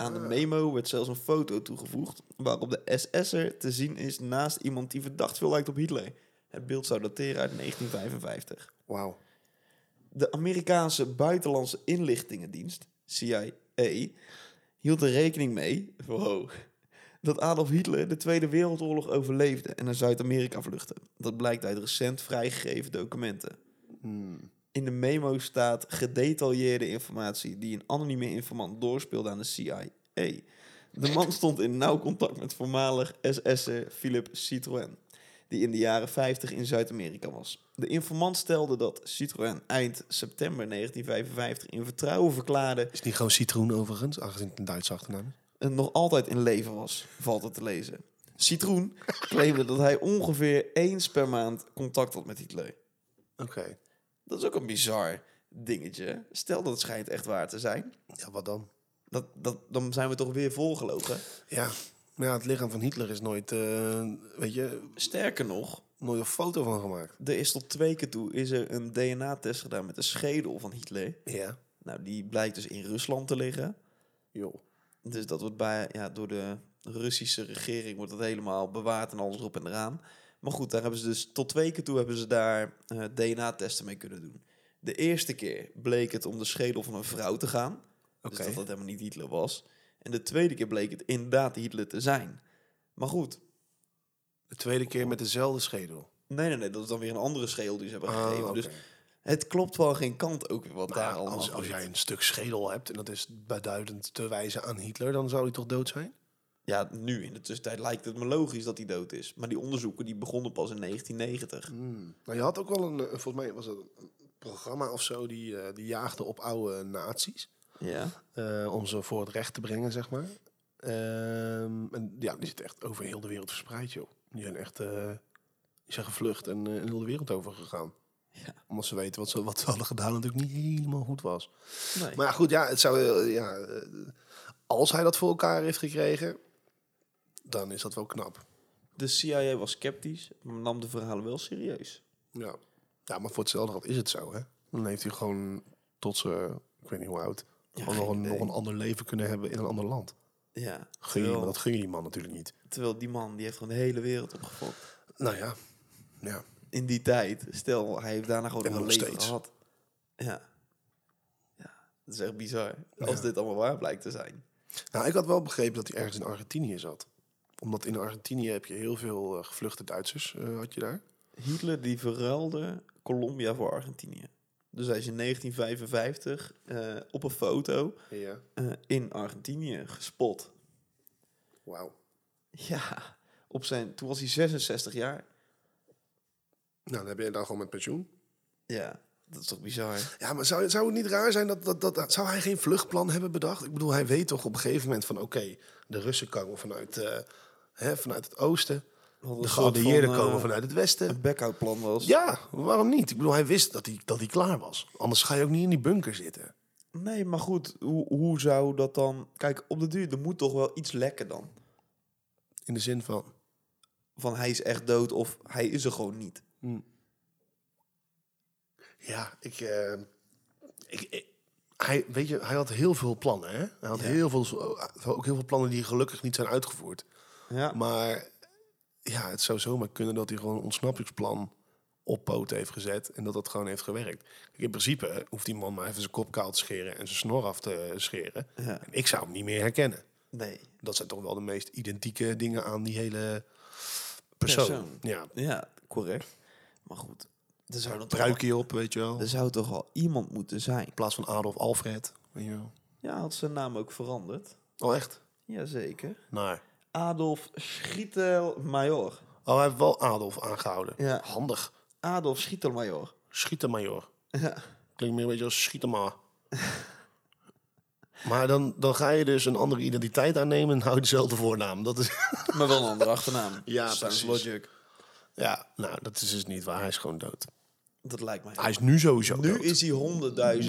A: Aan de memo werd zelfs een foto toegevoegd waarop de SS'er te zien is naast iemand die verdacht veel lijkt op Hitler. Het beeld zou dateren uit 1955.
B: Wauw.
A: De Amerikaanse Buitenlandse Inlichtingendienst, CIA, hield er rekening mee wow, dat Adolf Hitler de Tweede Wereldoorlog overleefde en naar Zuid-Amerika vluchtte. Dat blijkt uit recent vrijgegeven documenten.
B: Hmm.
A: In de memo staat gedetailleerde informatie die een anonieme informant doorspeelde aan de CIA. De man stond in nauw contact met voormalig SS'er Philip Citroën, die in de jaren 50 in Zuid-Amerika was. De informant stelde dat Citroën eind september 1955 in vertrouwen verklaarde
B: Is niet gewoon citroen overigens, aangezien het een Duitse achternaam is.
A: en nog altijd in leven was, valt het te lezen. Citroen claimde dat hij ongeveer eens per maand contact had met Hitler.
B: Oké.
A: Dat is ook een bizar dingetje. Stel dat het schijnt echt waar te zijn.
B: Ja, wat dan?
A: Dat, dat, dan zijn we toch weer volgelogen.
B: Ja. Nou ja, het lichaam van Hitler is nooit, eh, weet je,
A: Sterker nog,
B: nooit een foto van gemaakt.
A: er is tot twee keer toe is er een DNA-test gedaan met de schedel van Hitler.
B: Ja.
A: Nou, die blijkt dus in Rusland te liggen.
B: Joh.
A: Dus dat wordt bij, ja, door de Russische regering wordt dat helemaal bewaard en alles erop en eraan. Maar goed, daar hebben ze dus tot twee keer toe hebben ze daar eh, DNA-testen mee kunnen doen. De eerste keer bleek het om de schedel van een vrouw te gaan. Dus dat dat helemaal niet Hitler was. En de tweede keer bleek het inderdaad Hitler te zijn. Maar goed,
B: De tweede keer met dezelfde schedel.
A: nee, nee, nee, dat is dan weer een andere schedel die ze hebben
B: Ah,
A: gegeven.
B: oké.
A: Dus het klopt wel geen kant ook weer wat
B: Nou,
A: daar allemaal
B: als, als
A: gebeurt.
B: jij een stuk schedel hebt en dat is beduidend te wijzen aan Hitler, dan zou hij toch dood zijn?
A: Ja, nu in de tussentijd lijkt het me logisch dat hij dood is. Maar die onderzoeken die begonnen pas in 1990.
B: Nou, je had ook wel een, eh, volgens mij was het een programma of zo, die, eh, die jaagde op oude nazi's.
A: Ja.
B: eh, om ze voor het recht te brengen, zeg maar. Ehm, en ja, die zit echt over heel de wereld verspreid, joh. Die zijn echt eh, die zijn gevlucht en eh, heel de wereld over gegaan.
A: Ja.
B: Omdat ze weten wat ze, wat ze hadden gedaan natuurlijk niet helemaal goed was.
A: Nee.
B: Maar ja, goed, ja, het zou, eh, ja, eh, als hij dat voor elkaar heeft gekregen, dan is dat wel knap.
A: De CIA was sceptisch, maar nam de verhalen wel serieus.
B: Ja. ja, maar voor hetzelfde geld is het zo, hè? Dan heeft hij gewoon tot ze, ik weet niet hoe oud, gewoon nog,
A: geen
B: een, nog
A: idee.
B: een ander leven kunnen hebben in een ander land.
A: Ja.
B: Gun je, maar
A: Terwijl,
B: dat gun je die man natuurlijk niet.
A: terwijl die man die heeft gewoon de hele wereld opgefokt.
B: Nou ja, ja.
A: In die tijd, stel, hij heeft daarna gewoon
B: En
A: nog een
B: nog
A: leven
B: steeds.
A: gehad. Ja. Ja, dat is echt bizar. Als dit allemaal waar blijkt te zijn.
B: Nou, ik had wel begrepen dat hij ergens in Argentinië zat. Omdat in Argentinië heb je heel veel eh, gevluchte Duitsers, eh, had je daar.
A: Hitler die verruilde Colombia voor Argentinië. Dus hij is in 1955 eh, op een foto
B: Ja.
A: eh, in Argentinië gespot.
B: Wauw.
A: Ja, op zijn, toen was hij 66 jaar.
B: Nou, dan heb je dan gewoon met pensioen.
A: Ja, dat is toch bizar?
B: Ja, maar zou, zou het niet raar zijn dat, dat, dat, dat- Zou hij geen vluchtplan hebben bedacht? Ik bedoel, hij weet toch op een gegeven moment van... Oké, de Russen komen vanuit, eh, hè, vanuit het oosten.
A: Wat
B: De eh, geallieerden komen
A: van eh,
B: vanuit het westen.
A: een back-out-plan was.
B: Ja, waarom niet? Ik bedoel, hij wist dat hij, dat hij klaar was. Anders ga je ook niet in die bunker zitten.
A: Nee, maar goed, hoe, hoe zou dat dan... Kijk, op de duur, er moet toch wel iets lekken dan.
B: In de zin van...
A: Van hij is echt dood of hij is er gewoon niet.
B: Ja, ik, eh, ik, ik- hij, weet je, hij had heel veel plannen. Hè? Hij had
A: Ja.
B: heel veel, ook heel veel plannen die gelukkig niet zijn uitgevoerd.
A: Ja,
B: Maar ja, het zou zomaar kunnen dat hij gewoon een ontsnappingsplan op poten heeft gezet en dat dat gewoon heeft gewerkt. Kijk, in principe hoeft die man maar even zijn kop kaal te scheren en zijn snor af te scheren.
A: Ja.
B: En ik zou hem niet meer herkennen.
A: nee.
B: Dat zijn toch wel de meest identieke dingen aan die hele persoon.
A: Persoon.
B: Ja,
A: Ja, correct. Maar goed, er zou, dan toch wel,
B: pruikje op, weet je wel.
A: er zou toch al iemand moeten zijn.
B: In plaats van Adolf Alfred, weet je wel.
A: Ja, had zijn naam ook veranderd.
B: Oh, echt?
A: Jazeker.
B: Naar.
A: Adolf Schietelmajor.
B: Oh, hij heeft wel Adolf aangehouden.
A: Ja.
B: Handig.
A: Adolf Schietelmajor.
B: Schietenmajor.
A: Ja.
B: Klinkt meer een beetje als schietema. maar dan, dan ga je dus een andere identiteit aannemen en hou je dezelfde voornaam. Dat is...
A: Maar wel een andere achternaam.
B: Ja,
A: Sounds
B: precies.
A: Logic.
B: Ja, nou, dat is dus niet waar. Hij is gewoon dood.
A: Dat lijkt mij.
B: Hij is nu sowieso
A: Nu
B: dood.
A: is hij 100.000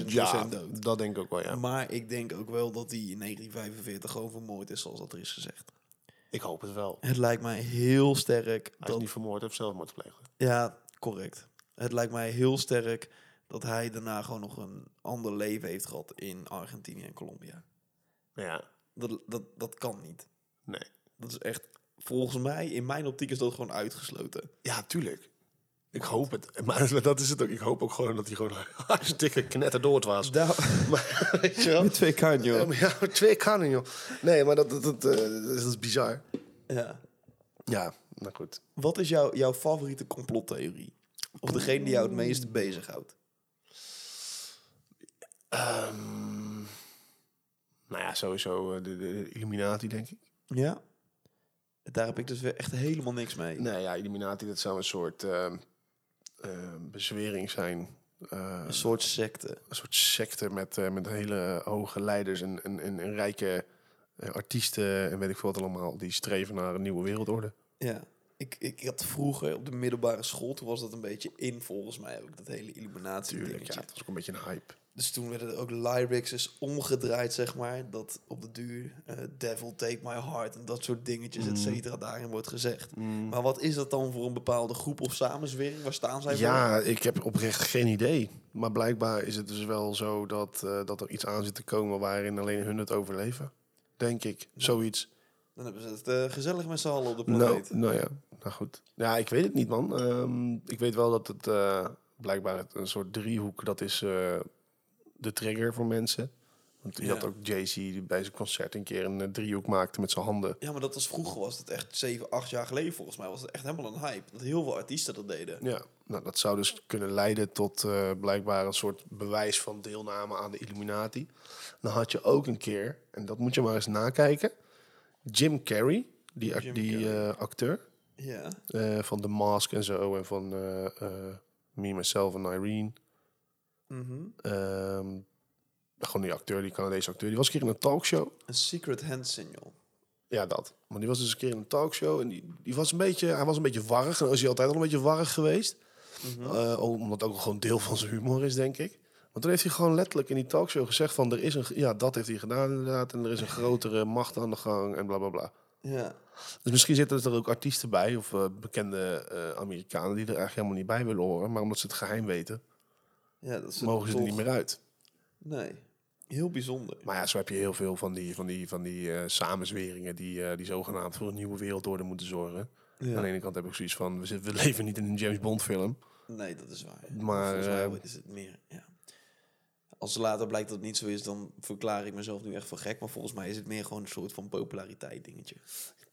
B: ja,
A: procent dood.
B: dat denk ik ook wel, ja.
A: Maar ik denk ook wel dat hij in 1945 gewoon vermoord is, zoals dat er is gezegd.
B: Ik hoop het wel. Hij
A: Het lijkt mij heel sterk
B: is
A: dat...
B: niet vermoord, hij heeft zelfmoord gepleegd.
A: Ja, correct. Het lijkt mij heel sterk dat hij daarna gewoon nog een ander leven heeft gehad in Argentinië en Colombia.
B: Ja,
A: Dat, dat, dat kan niet.
B: nee.
A: Dat is echt... Volgens mij, in mijn optiek, is dat gewoon uitgesloten.
B: Ja, tuurlijk. Ik hoop het. Maar dat is het ook. Ik hoop ook gewoon dat hij gewoon hartstikke knetterdood was.
A: Daar,
B: Maar, weet je wel?
A: met twee kan,
B: Ja,
A: joh.
B: maar ja, maar twee kanen, joh. Nee, maar dat, dat, dat, eh, dat is bizar.
A: Ja.
B: Ja, nou goed.
A: Wat is jouw, jouw favoriete complottheorie? Of degene die jou het meest bezighoudt?
B: Ehm, Nou ja, sowieso eh, de, de Illuminati, denk ik.
A: Ja. Daar heb ik dus weer echt helemaal niks mee.
B: Nee, ja, Illuminati, dat zou een soort ehm, eh, bezwering zijn. Eh,
A: Een soort secte.
B: een soort secte met, eh, met hele hoge leiders en, en, en, en rijke eh, artiesten en weet ik veel wat allemaal. Die streven naar een nieuwe wereldorde.
A: Ja. Ik, ik had vroeger op de middelbare school, toen was dat een beetje in volgens mij ook, dat hele illuminatie
B: Tuurlijk, ja.
A: dingetje.
B: Dat was ook een beetje een hype.
A: Dus toen werden er ook lyrics is omgedraaid, zeg maar, dat op de duur eh, devil take my heart en dat soort dingetjes,
B: Mm.
A: et cetera, daarin wordt gezegd. Maar wat is dat dan voor een bepaalde groep of samenzwering? Waar staan zij voor?
B: Ja, ik heb oprecht geen idee. Maar blijkbaar is het dus wel zo dat, eh, dat er iets aan zit te komen waarin alleen hun het overleven. denk ik. Zoiets.
A: Dan hebben ze het eh, gezellig met z'n allen op de
B: Nou,
A: planeet.
B: nou ja, nou goed. Ja, ik weet het niet, man. Ehm, ik weet wel dat het eh, blijkbaar het- een soort driehoek, dat is eh, de trigger voor mensen. Want je
A: Ja.
B: had ook Jay-Z die bij zijn concert een keer een eh, driehoek maakte met zijn handen.
A: Ja, maar dat was vroeger, was het echt 7, 8 jaar geleden volgens mij. Was het echt helemaal een hype. Dat heel veel artiesten dat deden.
B: Ja, nou, dat zou dus kunnen leiden tot eh, blijkbaar een soort bewijs van deelname aan de Illuminati. Dan had je ook een keer, en dat moet je maar eens nakijken, Jim Carrey, die, ac-
A: Jim
B: die
A: Carrey.
B: eh, acteur
A: Ja.
B: eh, van The Mask en zo, en van eh, eh, Me, Myself en Irene.
A: Mhm.
B: Ehm, gewoon die acteur, die Canadese acteur, die was een keer in een talkshow.
A: Een secret hand signal.
B: Ja, dat. Maar die was dus een keer in een talkshow en die, die was een beetje, hij was een beetje warrig. En is hij altijd al een beetje warrig geweest. Eh, ook omdat het ook gewoon deel van zijn humor is, denk ik. Maar toen heeft hij gewoon letterlijk in die talkshow gezegd van, er is een, ja, dat heeft hij gedaan inderdaad. En er is een grotere macht aan de gang en bla bla bla.
A: Ja.
B: Dus misschien zitten er ook artiesten bij of eh, bekende eh, Amerikanen die er eigenlijk helemaal niet bij willen horen. Maar omdat ze het geheim weten,
A: ja dat is
B: mogen ze er niet
A: toch-
B: meer uit.
A: Nee. Heel bijzonder.
B: Maar ja, zo heb je heel veel van die, van die, van die eh, samenzweringen die, eh, die zogenaamd voor een nieuwe wereldorde moeten zorgen. Aan de
A: Ja.
B: ene kant heb ik zoiets van, we, zit- we leven niet in een James Bond film.
A: Nee, dat is waar.
B: Maar,
A: Volgens mij
B: eh,
A: is het meer, ja. Als later blijkt dat het niet zo is, dan verklaar ik mezelf nu echt voor gek. Maar volgens mij is het meer gewoon een soort van populariteit dingetje.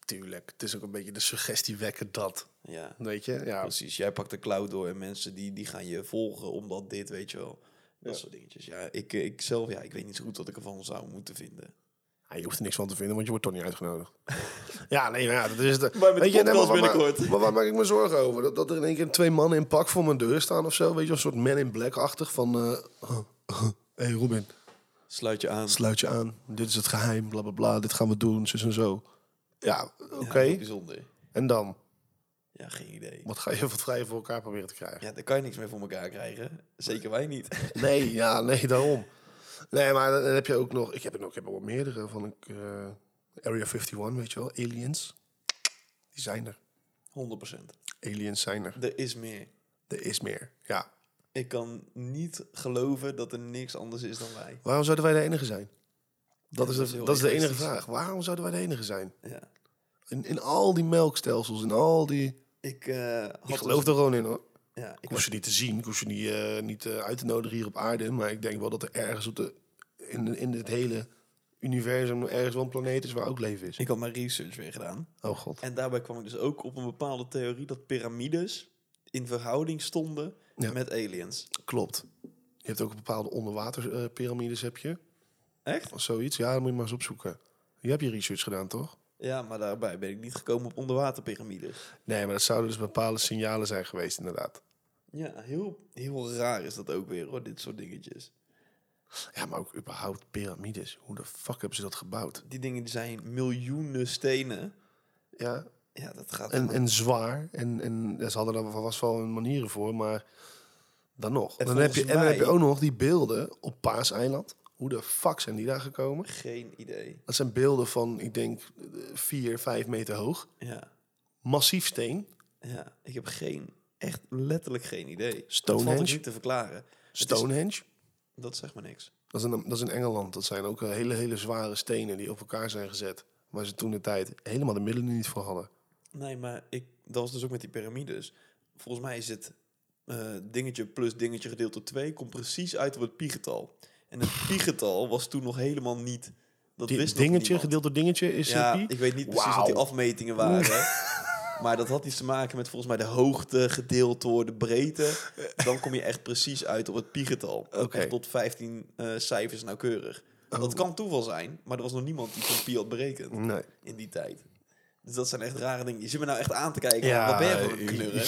B: Tuurlijk, het is ook een beetje de suggestie wekken dat.
A: Ja,
B: Weet je? Ja,
A: precies. Jij pakt de cloud door en mensen die, die gaan je volgen omdat dit, weet je wel. Dat soort dingetjes. Ja, ik, eh, ik zelf, ja, ik weet niet zo goed wat ik ervan zou moeten vinden.
B: je hoeft er niks van te vinden, want je wordt toch niet uitgenodigd. ja, nee, maar ja, dat is het.
A: Wij met de
B: je, nee,
A: podcast
B: waar-
A: binnenkort.
B: Maar waar maak ik me zorgen over? Dat, dat er in één keer twee mannen in pak voor mijn deur staan of zo. Weet je, een soort man in black-achtig van... eh, hey Robin,
A: Sluit je aan.
B: sluit je aan. Dit is het geheim, bla bla bla. Dit gaan we doen, zus en zo. Ja, oké.
A: Ja, bijzonder.
B: En dan?
A: Ja, geen idee.
B: Wat ga je, wat ga je voor elkaar proberen te krijgen?
A: Ja, daar kan je niks meer voor elkaar krijgen. Zeker wij niet.
B: Nee, ja, nee, daarom. Nee, maar dan heb je ook nog... Ik heb er nog ik heb er wel meerdere van... Ik, eh, Area 51, weet je wel? Aliens. Die zijn er.
A: 100%.
B: Aliens zijn er.
A: Er is meer.
B: Er is meer, ja.
A: Ik kan niet geloven dat er niks anders is dan wij.
B: Waarom zouden wij de enige zijn? Dat,
A: Ja,
B: is,
A: dat is
B: de,
A: heel
B: dat is de enige
A: egoïstisch.
B: vraag. Waarom zouden wij de enige zijn?
A: Ja.
B: In, in al die melkstelsels, in al die...
A: Ik, eh, had
B: Ik geloof er gewoon in, hoor.
A: dus- ja, ik
B: Ik hoef ze niet te zien, ik hoef ze niet, eh, niet eh, uit te nodigen hier op aarde. Maar ik denk wel dat er ergens op de, in, in dit hele universum ergens wel een planeet is waar ook leven is.
A: Ik had mijn research weer gedaan.
B: Oh god.
A: En daarbij kwam ik dus ook op een bepaalde theorie dat piramides in verhouding stonden
B: Ja.
A: met aliens.
B: Klopt. Je hebt ook bepaalde onderwaterpyramides, heb je?
A: Echt?
B: Of zoiets. Ja, dat moet je maar eens opzoeken. Je hebt je research gedaan, toch?
A: Ja, maar daarbij ben ik niet gekomen op onderwaterpyramides.
B: Nee, maar dat zouden dus bepaalde signalen zijn geweest, inderdaad.
A: Ja, heel, heel raar is dat ook weer hoor, dit soort dingetjes.
B: Ja, maar ook überhaupt piramides. Hoe de fuck hebben ze dat gebouwd?
A: Die dingen die zijn miljoenen stenen.
B: Ja,
A: Ja, dat gaat...
B: en, en zwaar. En, en ja, ze hadden daar was wel een manieren voor, maar dan nog.
A: En
B: Dan heb je,
A: volgens
B: en dan heb je
A: mij-
B: ook nog die beelden op Paaseiland. Hoe de fuck zijn die daar gekomen?
A: Geen idee.
B: Dat zijn beelden van, ik denk, eh, vier, vijf meter hoog.
A: Ja,
B: Massief steen.
A: ja. Ik heb geen, echt letterlijk geen idee. Dat valt ook
B: Stonehenge?
A: niet te verklaren. Het is-
B: Stonehenge.
A: dat zegt me niks.
B: Dat is, in, dat is in Engeland. Dat zijn ook eh, hele, hele zware stenen die op elkaar zijn gezet. Waar ze toen de tijd helemaal de middelen niet voor hadden.
A: Nee, maar ik, dat was dus ook met die piramides. Volgens mij is het eh, dingetje plus dingetje gedeeld door 2 komt precies uit op het piegetal. En het piegetal was toen nog helemaal niet. Dat
B: Die,
A: wist nog
B: dingetje
A: niemand.
B: gedeeld door dingetje is
A: Ja,
B: eh, pi.
A: ik weet niet precies wat die
B: Wauw.
A: afmetingen waren. maar dat had iets te maken met volgens mij de hoogte gedeeld door de breedte. Dan kom je echt precies uit op het piegetal.
B: Oké. Oh.
A: Echt tot 15 eh, cijfers nauwkeurig. Dat kan toeval zijn, maar er was nog niemand die van pi had berekend
B: Nee.
A: in die tijd. Dus dat zijn echt rare dingen. Je zit me nou echt aan te kijken.
B: Ja,
A: wat ben je voor
B: eh,
A: een knurren?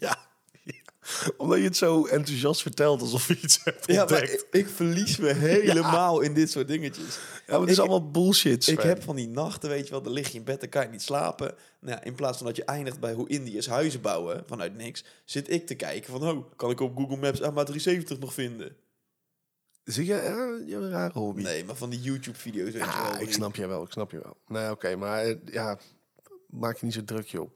B: ja. Omdat je het zo enthousiast vertelt alsof je iets hebt
A: Ja, maar
B: ontdekt.
A: ik, ik verlies me helemaal in dit soort dingetjes.
B: Ja, maar het is
A: ik-
B: allemaal bullshit.
A: Ik
B: Sven.
A: heb van die nachten, weet je wel, dan lig je in bed, dan kan je niet slapen. Nou, ja, in plaats van dat je eindigt bij hoe Indiërs huizen bouwen vanuit niks, zit ik te kijken van, oh, kan ik op Google Maps AMA 370 nog vinden?
B: Zie je, eh, je hebt een rare hobby.
A: Nee, maar van die YouTube-video's, weet je wel.
B: ja, ik snap je wel, ik snap je wel. Nee, oké, maar eh, ja, maak je niet zo druk, joh.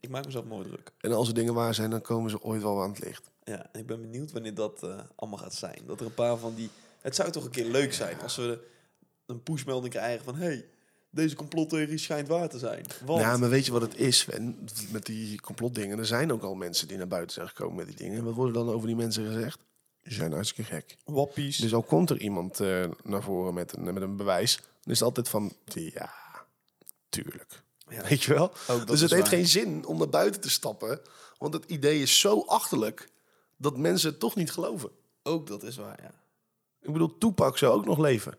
A: Ik maak mezelf nooit druk.
B: En als er dingen waar zijn, dan komen ze ooit wel aan het licht.
A: Ja, en ik ben benieuwd wanneer dat eh, allemaal gaat zijn. Dat er een paar van die... Het zou toch een keer leuk zijn als we een pushmelding krijgen van... hey, deze complottheorie schijnt waar te zijn. Want
B: Ja, maar weet je wat het is, Sven? Met die complotdingen. Er zijn ook al mensen die naar buiten zijn gekomen met die dingen. Wat wordt er dan over die mensen gezegd? Ze zijn hartstikke gek.
A: wappies.
B: Dus al komt er iemand eh, naar voren met een, met een bewijs, dan is het altijd van, ja, tuurlijk.
A: Ja.
B: Weet je wel?
A: dat
B: dus
A: is
B: het heeft
A: waar.
B: geen zin om naar buiten te stappen, want het idee is zo achterlijk dat mensen het toch niet geloven.
A: ook dat is waar, ja.
B: Ik bedoel, Tupac zou ook nog leven.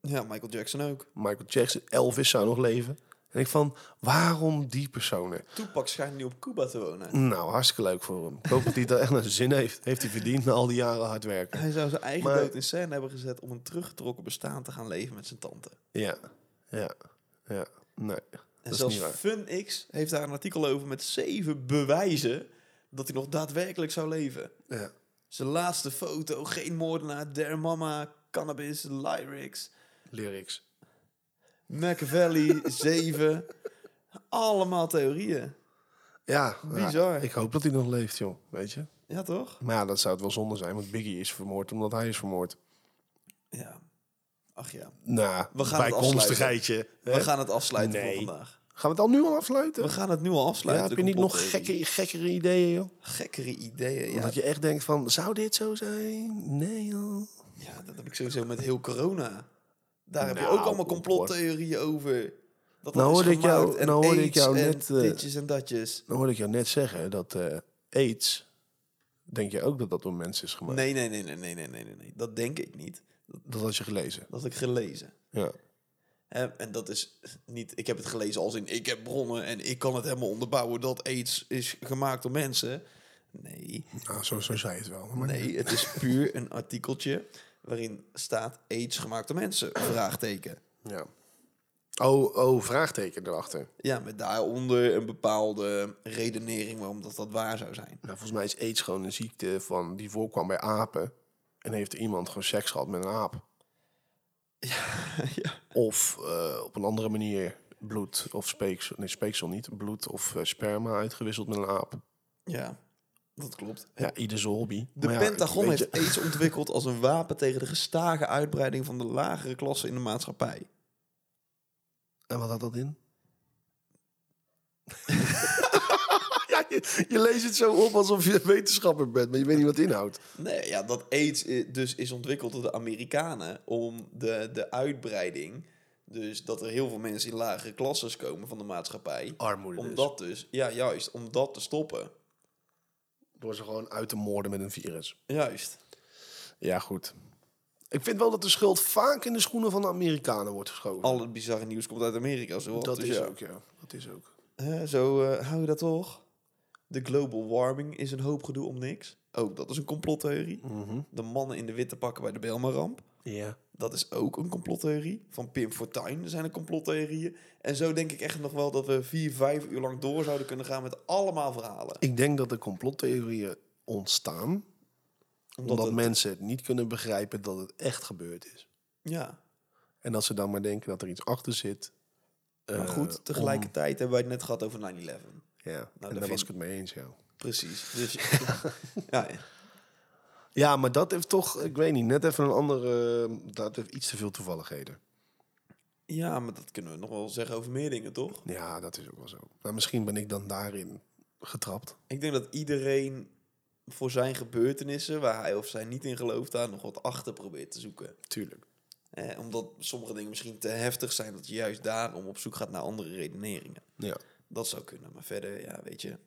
A: Ja, Michael Jackson ook.
B: Michael Jackson, Elvis zou nog leven. En ik van, waarom die personen?
A: Tupac schijnt nu op Cuba te wonen.
B: Nou, hartstikke leuk voor hem. Ik hoop dat hij daar echt naar zijn zin heeft. Heeft hij verdiend na al die jaren hard werken.
A: Hij zou zijn eigen
B: Maar-
A: dood in scène hebben gezet om een teruggetrokken bestaan te gaan leven met zijn tante.
B: Ja, ja, ja. Nee,
A: En
B: dat is
A: zelfs
B: niet waar.
A: FunX heeft daar een artikel over met zeven bewijzen dat hij nog daadwerkelijk zou leven.
B: Ja.
A: Zijn laatste foto, geen moordenaar, der mama, cannabis, lyrics,
B: Lyrics.
A: Machiavelli, zeven. Allemaal theorieën.
B: Ja,
A: Bizar.
B: ja, ik hoop dat hij nog leeft, joh. Weet je?
A: Ja, toch?
B: Maar ja, dat zou het wel zonde zijn, want Biggie is vermoord omdat hij is vermoord.
A: Ja. Ach ja.
B: Nou,
A: We gaan het
B: bijkomstigheidje. hè?
A: We gaan het afsluiten
B: Nee.
A: voor vandaag.
B: Gaan we het al nu al
A: We
B: afsluiten?
A: gaan het nu al
B: Ja,
A: afsluiten.
B: heb je
A: de
B: niet nog
A: complottheorie.
B: gekke, gekkere ideeën, joh?
A: gekkere ideeën? Ja,
B: Dat je echt denkt van, zou dit zo zijn? Nee, joh.
A: ja, dat heb ik sowieso met heel corona. Daar heb je
B: Nou,
A: ook allemaal
B: kom op,
A: complottheorieën over. Dat
B: Nou
A: alles
B: hoorde ik
A: gemaakt
B: jou-
A: en
B: nou hoorde
A: AIDS
B: ik jou
A: en
B: net, eh,
A: ditjes en datjes.
B: Dan hoorde ik jou net zeggen dat eh, AIDS, denk je ook dat dat door mensen is gemaakt?
A: Nee, nee, nee, nee, nee, nee, nee, nee, nee. Dat denk ik niet.
B: Dat had je gelezen.
A: Dat heb ik gelezen.
B: Ja.
A: Hè, en dat is niet, ik heb het gelezen als in ik heb bronnen en ik kan het helemaal onderbouwen dat AIDS is gemaakt door mensen. Nee,
B: Nou, zo, zo zei je het wel. Maar
A: nee, het is puur een artikeltje waarin staat AIDS gemaakt door mensen, vraagteken.
B: Ja. Oh, oh, vraagteken erachter.
A: Ja, met daaronder een bepaalde redenering waarom dat, dat waar zou zijn.
B: Nou, volgens mij is aids gewoon een ziekte van, die voorkwam bij apen. En heeft iemand gewoon seks gehad met een aap.
A: ja.
B: Of eh, op een andere manier bloed of speeksel. Nee, speeksel niet. Bloed of eh, sperma uitgewisseld met een aap.
A: ja, dat klopt.
B: Ja, ieders hobby.
A: De
B: Maar ja,
A: Pentagon
B: weet je-
A: heeft AIDS ontwikkeld als een wapen tegen de gestage uitbreiding van de lagere klasse in de maatschappij.
B: En wat had dat in? ja, je, je leest het zo op alsof je een wetenschapper bent, maar je weet niet wat het inhoudt.
A: Nee, ja, dat AIDS i- dus is ontwikkeld door de Amerikanen om de, de uitbreiding, dus dat er heel veel mensen in lagere klasses komen van de maatschappij,
B: Armoede
A: om
B: dus.
A: dat dus, ja juist, om dat te stoppen.
B: Door ze gewoon uit te moorden met een virus.
A: Juist.
B: Ja, goed. Ik vind wel dat de schuld vaak in de schoenen van de Amerikanen wordt geschoven.
A: Al het bizarre nieuws komt uit Amerika, zo
B: dat
A: dus
B: is
A: ja.
B: ook, ja. Dat is ook.
A: Hè, zo eh, hou je dat toch? De global warming is een hoop gedoe om niks. Ook dat is een complottheorie.
B: Mhm.
A: De mannen in de witte pakken bij de Belma-ramp.
B: Ja.
A: Dat is ook een complottheorie. Van Pim Fortuyn zijn er complottheorieën. En zo denk ik echt nog wel dat we vier, vijf uur lang door zouden kunnen gaan met allemaal verhalen.
B: Ik denk dat er complottheorieën ontstaan
A: Omdat
B: omdat
A: het-
B: mensen het niet kunnen begrijpen dat het echt gebeurd is.
A: ja,
B: En dat ze dan maar denken dat er iets achter zit.
A: maar
B: eh,
A: goed, tegelijkertijd hebben wij het net gehad over 9-11.
B: om- ja, en daar
A: vind-
B: was ik het mee eens, ja.
A: Precies. Dus, ja, ja.
B: Ja, maar dat heeft toch, ik weet niet, net even een andere... eh, Dat heeft iets te veel toevalligheden.
A: ja, maar dat kunnen we nog wel zeggen over meer dingen, toch?
B: Ja, dat is ook wel zo. Maar misschien ben ik dan daarin getrapt.
A: Ik denk dat iedereen voor zijn gebeurtenissen, waar hij of zij niet in gelooft, daar nog wat achter probeert te zoeken.
B: Tuurlijk.
A: Eh, omdat sommige dingen misschien te heftig zijn, dat je juist daarom op zoek gaat naar andere redeneringen.
B: Ja.
A: Dat zou kunnen, maar verder, ja, weet je.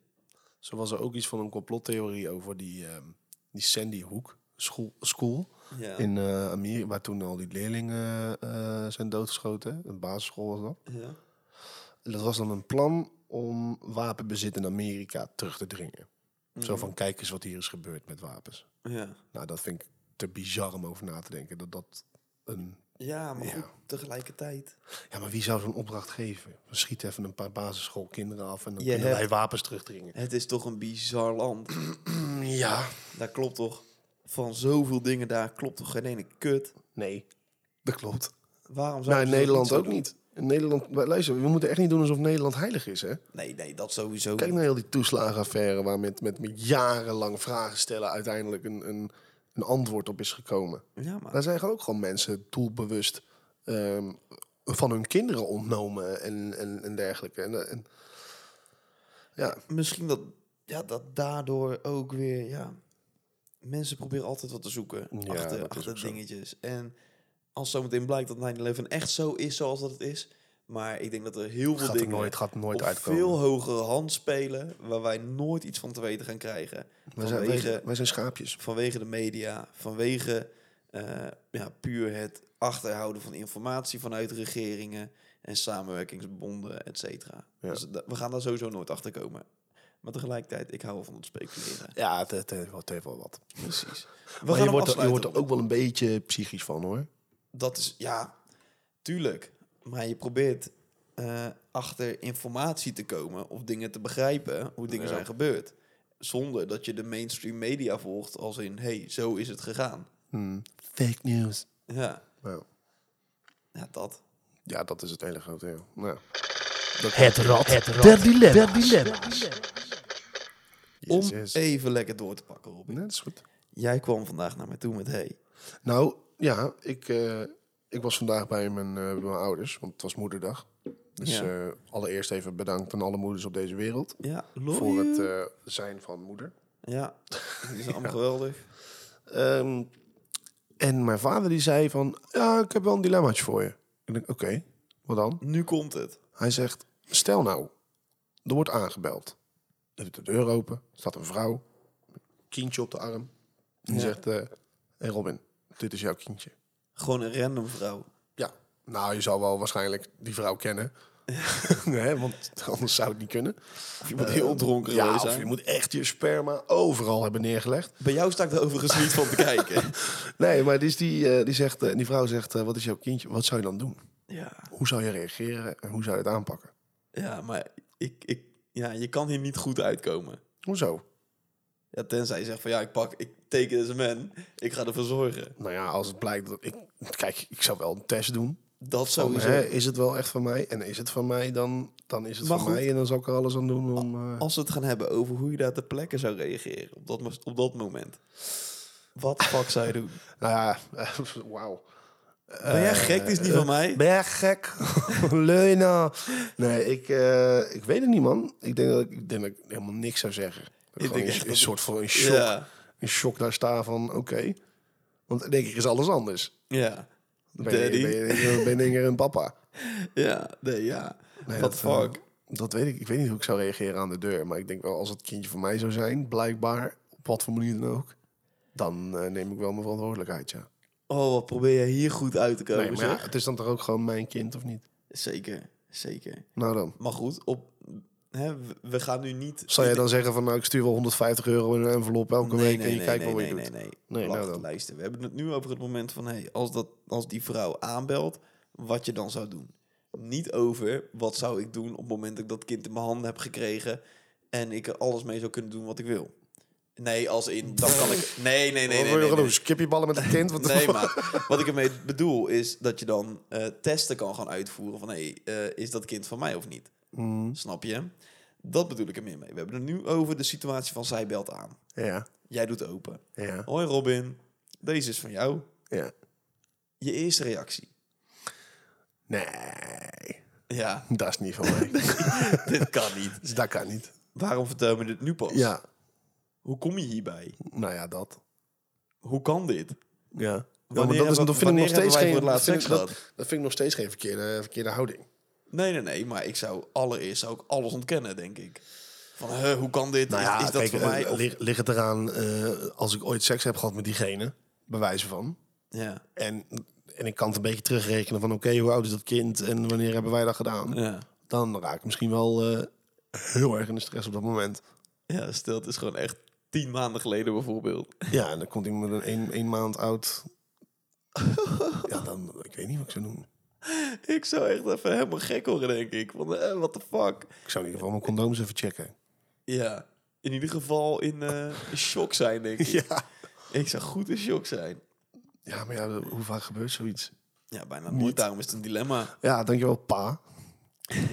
B: Zo was er ook iets van een complottheorie over die, ehm, die Sandy Hook school, school
A: Ja,
B: in eh Amerika, waar toen al die leerlingen eh, zijn doodgeschoten. Een basisschool was dat.
A: ja.
B: En dat was dan een plan om wapenbezit in Amerika terug te dringen. Zo van, kijk eens wat hier is gebeurd met wapens.
A: ja.
B: Nou, dat vind ik te bizar om over na te denken. Dat dat een...
A: Ja, maar
B: Ja.
A: goed, tegelijkertijd.
B: Ja, maar wie zou zo'n opdracht geven? We schieten even een paar basisschoolkinderen af en dan
A: Je
B: kunnen
A: hebt-
B: wij wapens terugdringen.
A: Het is toch een bizar land.
B: Mm, Ja.
A: Daar klopt toch van zoveel dingen daar klopt toch geen ene kut.
B: Nee. Dat klopt.
A: Waarom zou
B: Nou, in Nederland ook niet. In Nederland, maar luister, we moeten echt niet doen alsof Nederland heilig is, hè?
A: Nee, nee, dat sowieso.
B: Kijk
A: niet.
B: naar nou heel die toeslagenaffaire waar met, met, met jarenlang vragen stellen uiteindelijk een, een, een antwoord op is gekomen.
A: Ja, maar
B: Ah. Daar zijn gewoon ook gewoon mensen doelbewust ehm, van hun kinderen ontnomen en, en, en dergelijke. En, en, ja,
A: Misschien dat, ja, dat daardoor ook weer, ja... Mensen proberen altijd wat te zoeken
B: Ja, dat
A: achter,
B: is ook
A: achter
B: zo.
A: dingetjes. En als zometeen blijkt dat 9-11 echt zo is zoals dat het is... Maar ik denk dat er heel veel
B: gaat er
A: dingen
B: nooit, gaat er nooit
A: op
B: uitkomen.
A: veel hogere hand spelen... waar wij nooit iets van te weten gaan krijgen.
B: wij, zijn,
A: vanwege-
B: wij- wij zijn schaapjes.
A: vanwege de media, vanwege eh, ja, puur het achterhouden van informatie vanuit regeringen en samenwerkingsbonden, et cetera.
B: Ja.
A: Dus da- we gaan daar sowieso nooit achter komen. Maar tegelijkertijd, ik hou wel van het speculeren.
B: Ja, het, het, heeft wel- het heeft wel wat.
A: Precies. We gaan
B: Maar je
A: hem
B: wordt, er, je wordt
A: afsluiten.
B: er ook wel een beetje psychisch van hoor.
A: Dat is, ja, tuurlijk. Maar je probeert eh, achter informatie te komen of dingen te begrijpen, hoe dingen
B: Ja.
A: zijn gebeurd. Zonder dat je de mainstream media volgt als in, hey, zo is het gegaan.
B: Fake news.
A: Ja,
B: Nou,
A: ja dat.
B: ja, dat is het hele grote. Ja. Nou,
C: Het rad, het rad der dilemma's.
B: yes,
A: om
B: yes.
A: even lekker door te pakken, Robin.
B: Nee, dat is goed.
A: Jij kwam vandaag naar mij toe met hey.
B: Nou, ja, ik, eh, ik was vandaag bij mijn, eh, bij mijn ouders, want het was moederdag. Dus
A: Ja.
B: eh, allereerst even bedankt aan alle moeders op deze wereld.
A: Ja, love
B: Voor
A: you.
B: het eh, zijn van moeder.
A: Ja, die zijn allemaal geweldig.
B: Ehm, en mijn vader die zei van, ja, ik heb wel een dilemmaatje voor je. Ik denk, oké, wat dan?
A: Nu komt het.
B: Hij zegt, stel nou, er wordt aangebeld. Er doet de deur open, staat een vrouw, kindje op de arm. En die
A: Ja.
B: zegt, eh hey Robin, dit is jouw kindje.
A: Gewoon een random vrouw.
B: Ja, nou, je zal wel waarschijnlijk die vrouw kennen. nee, want anders zou het niet kunnen.
A: Of je moet heel dronken
B: Eh, ja,
A: geweest
B: of
A: zijn.
B: je moet echt je sperma overal hebben neergelegd.
A: Bij jou sta ik er overigens niet van te kijken.
B: Nee, maar dus die, eh, die, zegt, eh, die vrouw zegt, eh, wat is jouw kindje? Wat zou je dan doen?
A: Ja,
B: Hoe zou je reageren en hoe zou je het aanpakken?
A: ja maar ik, ik, ja, je kan hier niet goed uitkomen.
B: Hoezo?
A: Ja, tenzij je zegt van ja, ik pak, ik teken deze man, ik ga ervoor zorgen.
B: Nou ja, als het blijkt dat ik... Kijk, ik zou wel een test doen.
A: Dat
B: Van,
A: sowieso.
B: hè, is het wel echt van mij? En is het van mij, dan, dan is het
A: Maar
B: van
A: goed.
B: mij. En dan zal ik er alles aan doen om... eh,
A: Als we het gaan hebben over hoe je daar ter plekke zou reageren op dat, mo- op dat moment. Wat de fuck zou je doen?
B: Nou ja, wauw.
A: Ben jij gek? Dit is niet van mij.
B: Eh, Ben jij gek? Leuna. Nee, ik, eh, ik weet het niet, man. Ik denk dat ik, ik denk dat ik helemaal niks zou zeggen. Dat
A: denk
B: ik gewoon
A: echt
B: een,
A: dat-
B: een soort van een shock,
A: Ja.
B: een shock daar sta van, oké. Want dan denk ik, is alles anders.
A: Ja.
B: Dan Ben je, ben
A: Daddy.
B: je, ben je- ben je denk ik een papa.
A: Ja, nee, ja.
B: Nee,
A: What the
B: dat, eh,
A: fuck?
B: dat weet ik. Ik weet niet hoe ik zou reageren aan de deur. Maar ik denk wel, als het kindje van mij zou zijn, blijkbaar, op wat voor manier dan ook, dan eh, neem ik wel mijn verantwoordelijkheid, ja.
A: Oh, wat probeer je hier goed uit te komen,
B: eh, Nee, maar ja,
A: zeg.
B: het is dan toch ook gewoon mijn kind, of niet?
A: Zeker, zeker.
B: Nou dan.
A: Maar goed, op, hè, we- we gaan nu niet...
B: Zou jij dan zeggen van nou, ik stuur wel 150 euro in een envelop elke week en je kijkt wel wat
A: nee,
B: je
A: nee,
B: doet?
A: nee,
B: Nee,
A: nee.
B: nou
A: Wacht,
B: dan.
A: luister. We hebben het nu over het moment van... Hey, als, dat, als die vrouw aanbelt, wat je dan zou doen. Niet over wat zou ik doen op het moment dat ik dat kind in mijn handen heb gekregen... en ik er alles mee zou kunnen doen wat ik wil. Nee, als in, dan kan ik... Nee, nee, nee,
B: Wat
A: nee,
B: wil je
A: nee,
B: gaan
A: nee.
B: doen? Skip je ballen met een kind? Wat de
A: Nee,
B: fuck?
A: maar wat ik ermee bedoel is dat je dan eh, testen kan gaan uitvoeren van... hé, hey, eh, is dat kind van mij of niet?
B: Mm.
A: Snap je? Dat bedoel ik er meer mee. We hebben het nu over de situatie van zij belt aan.
B: Ja,
A: Jij doet open.
B: ja,
A: Hoi Robin, deze is van jou.
B: ja.
A: Je eerste reactie.
B: Nee,
A: Ja,
B: dat is niet van mij.
A: dit kan niet.
B: Dus dat kan niet.
A: Waarom vertel me dit nu pas?
B: Ja,
A: Hoe kom je hierbij?
B: nou ja, dat.
A: Hoe kan dit?
B: Ja.
A: Wanneer
B: maar dat, is,
A: hebben-
B: dat vind ik nog
A: wanneer hebben
B: steeds
A: wij
B: geen...
A: voor het
B: Dat
A: laatst
B: vind, ik,
A: seks Nou
B: dat, dat vind ik nog steeds geen verkeerde, verkeerde houding.
A: Nee, nee, nee, maar ik zou allereerst zou ik alles ontkennen, denk ik. Van, hè, hoe kan dit? is, is dat
B: kijk,
A: voor
B: eh,
A: mij? Of-
B: lig- ligt het eraan eh, als ik ooit seks heb gehad met diegene, bij wijze van.
A: ja,
B: En, en ik kan het een beetje terugrekenen van oké, hoe oud is dat kind en wanneer hebben wij dat gedaan?
A: ja.
B: dan raak ik misschien wel eh, heel erg in de stress op dat moment.
A: Ja, stel, het is gewoon echt tien maanden geleden bijvoorbeeld.
B: Ja, en dan komt iemand met een één, één maand oud. ja, dan, ik weet niet wat ik zou doen.
A: ik zou echt even helemaal gek worden, denk ik. Van, eh, what the fuck?
B: Ik zou in ieder geval mijn condooms even checken.
A: Ja, in ieder geval in eh, in shock zijn, denk ik.
B: Ja.
A: Ik zou goed in shock zijn.
B: Ja, maar ja, hoe vaak gebeurt zoiets?
A: Ja, bijna nooit. Daarom is het een dilemma.
B: Ja, dankjewel, pa.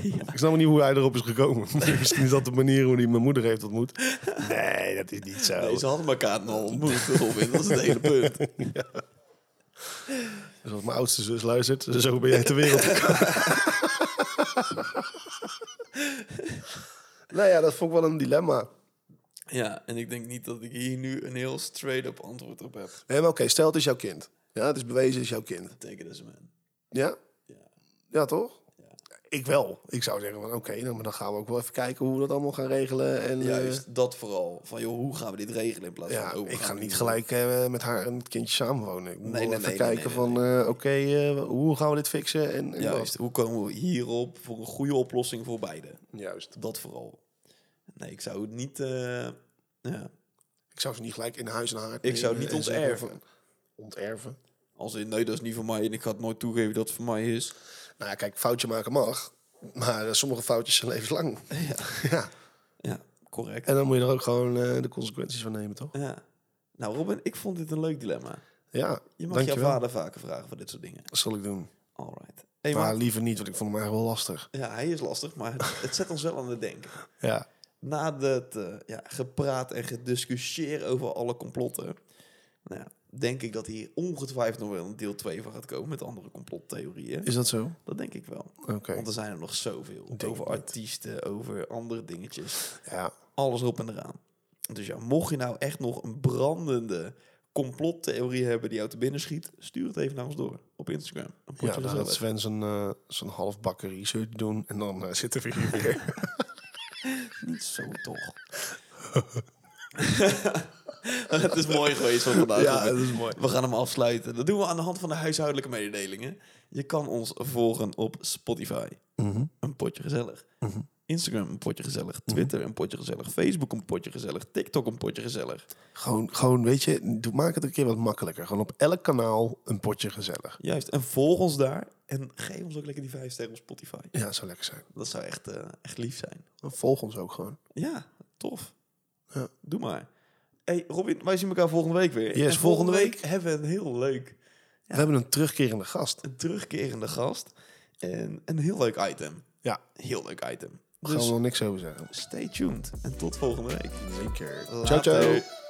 B: Ik snap niet hoe hij erop is gekomen. Misschien is dat de manier hoe hij mijn moeder heeft ontmoet. Nee, dat is niet zo.
A: Nee, ze hadden elkaar nog ontmoet, Robin. Dat is het hele punt.
B: Dus als mijn oudste zus luistert, zo ben jij ter wereld gekomen. nou ja, dat vond ik wel een dilemma.
A: Ja, en ik denk niet dat ik hier nu een heel straight-up antwoord op heb.
B: Nee, maar oké, stel het is jouw kind. Ja, het is bewezen, het is jouw kind.
A: Teken is man.
B: Ja?
A: Ja.
B: Ja, toch? Ik wel. Ik zou zeggen van oké, nou, maar dan gaan we ook wel even kijken hoe we dat allemaal gaan regelen. En, eh,
A: Juist, dat vooral. Van joh, hoe gaan we dit regelen in plaats
B: ja,
A: van... oh, we
B: ik
A: gaan
B: ga
A: het
B: niet gelijk eh, met haar en het kindje samenwonen. Ik moet
A: Nee, nee,
B: wel even
A: nee, nee,
B: kijken
A: nee,
B: van eh, oké, eh, hoe gaan we dit fixen? En, en
A: doen. Juist, hoe komen we hierop voor een goede oplossing voor beide?
B: dat. Juist.
A: Dat vooral. Nee, ik zou het niet... eh, ja.
B: Ik zou ze niet gelijk in huis en haar.
A: Ik zou niet
B: en zeggen
A: onterven.
B: van- Onterven?
A: Als in, nee, dat is niet voor mij en ik ga het nooit toegeven dat het voor mij is.
B: Nou ja, kijk, foutje maken mag. Maar eh, sommige foutjes zijn levenslang. Ja.
A: Ja, correct.
B: En dan moet je er ook gewoon eh, de consequenties van nemen, toch?
A: Ja. Nou Robin, ik vond dit een leuk dilemma.
B: Ja,
A: Je mag
B: dankjewel.
A: jouw vader vaker vragen voor dit soort dingen.
B: Dat zal ik doen.
A: Alright. Hey,
B: Maar
A: maar,
B: liever niet, want ik vond hem eigenlijk wel lastig.
A: ja, hij is lastig, maar het, het zet ons wel aan het denken.
B: Ja.
A: Na het eh, ja, gepraat en gediscussieer over alle complotten, nou, ja, denk ik dat hier ongetwijfeld nog wel een deel 2 van gaat komen met andere complottheorieën.
B: Is dat zo?
A: Dat denk ik wel.
B: Oké.
A: Want er zijn er nog zoveel.
B: Denk
A: over
B: ik niet.
A: artiesten, over andere dingetjes.
B: Ja.
A: alles erop en eraan. Dus ja, mocht je nou echt nog een brandende complottheorie hebben die jou te binnen schiet, stuur het even naar ons door op Instagram. Dan potje
B: Ja, dan
A: er
B: gaat
A: zelf
B: Sven zijn, eh, zijn halfbakken research doen en dan eh, zitten we hier weer.
A: uit. Niet zo toch. het is mooi geweest van vandaag. Robert.
B: is mooi.
A: We gaan hem afsluiten. Dat doen we aan de hand van de huishoudelijke mededelingen. Je kan ons volgen op Spotify. Een potje gezellig. Instagram een potje gezellig. Twitter een potje gezellig. Facebook een potje gezellig. TikTok een potje gezellig.
B: Gewoon, gewoon, weet je, doe, maak het een keer wat makkelijker. Gewoon op elk kanaal een potje gezellig.
A: Juist, en volg ons daar. En geef ons ook lekker die vijf sterren op Spotify.
B: Ja, zou lekker zijn.
A: Dat zou echt, eh, echt lief zijn.
B: Volg ons ook gewoon.
A: Ja, tof.
B: Ja.
A: Doe maar. hey Robin, wij zien elkaar volgende week weer.
B: Yes,
A: En
B: volgende week.
A: hebben we een heel leuk,
B: We hebben een terugkerende gast.
A: een terugkerende gast. En een heel leuk item.
B: Ja.
A: Heel leuk item.
B: Daar gaan
A: Dus
B: we nog niks over zeggen.
A: stay tuned. En tot volgende week.
B: Zeker. Ciao,
A: Later.
B: ciao.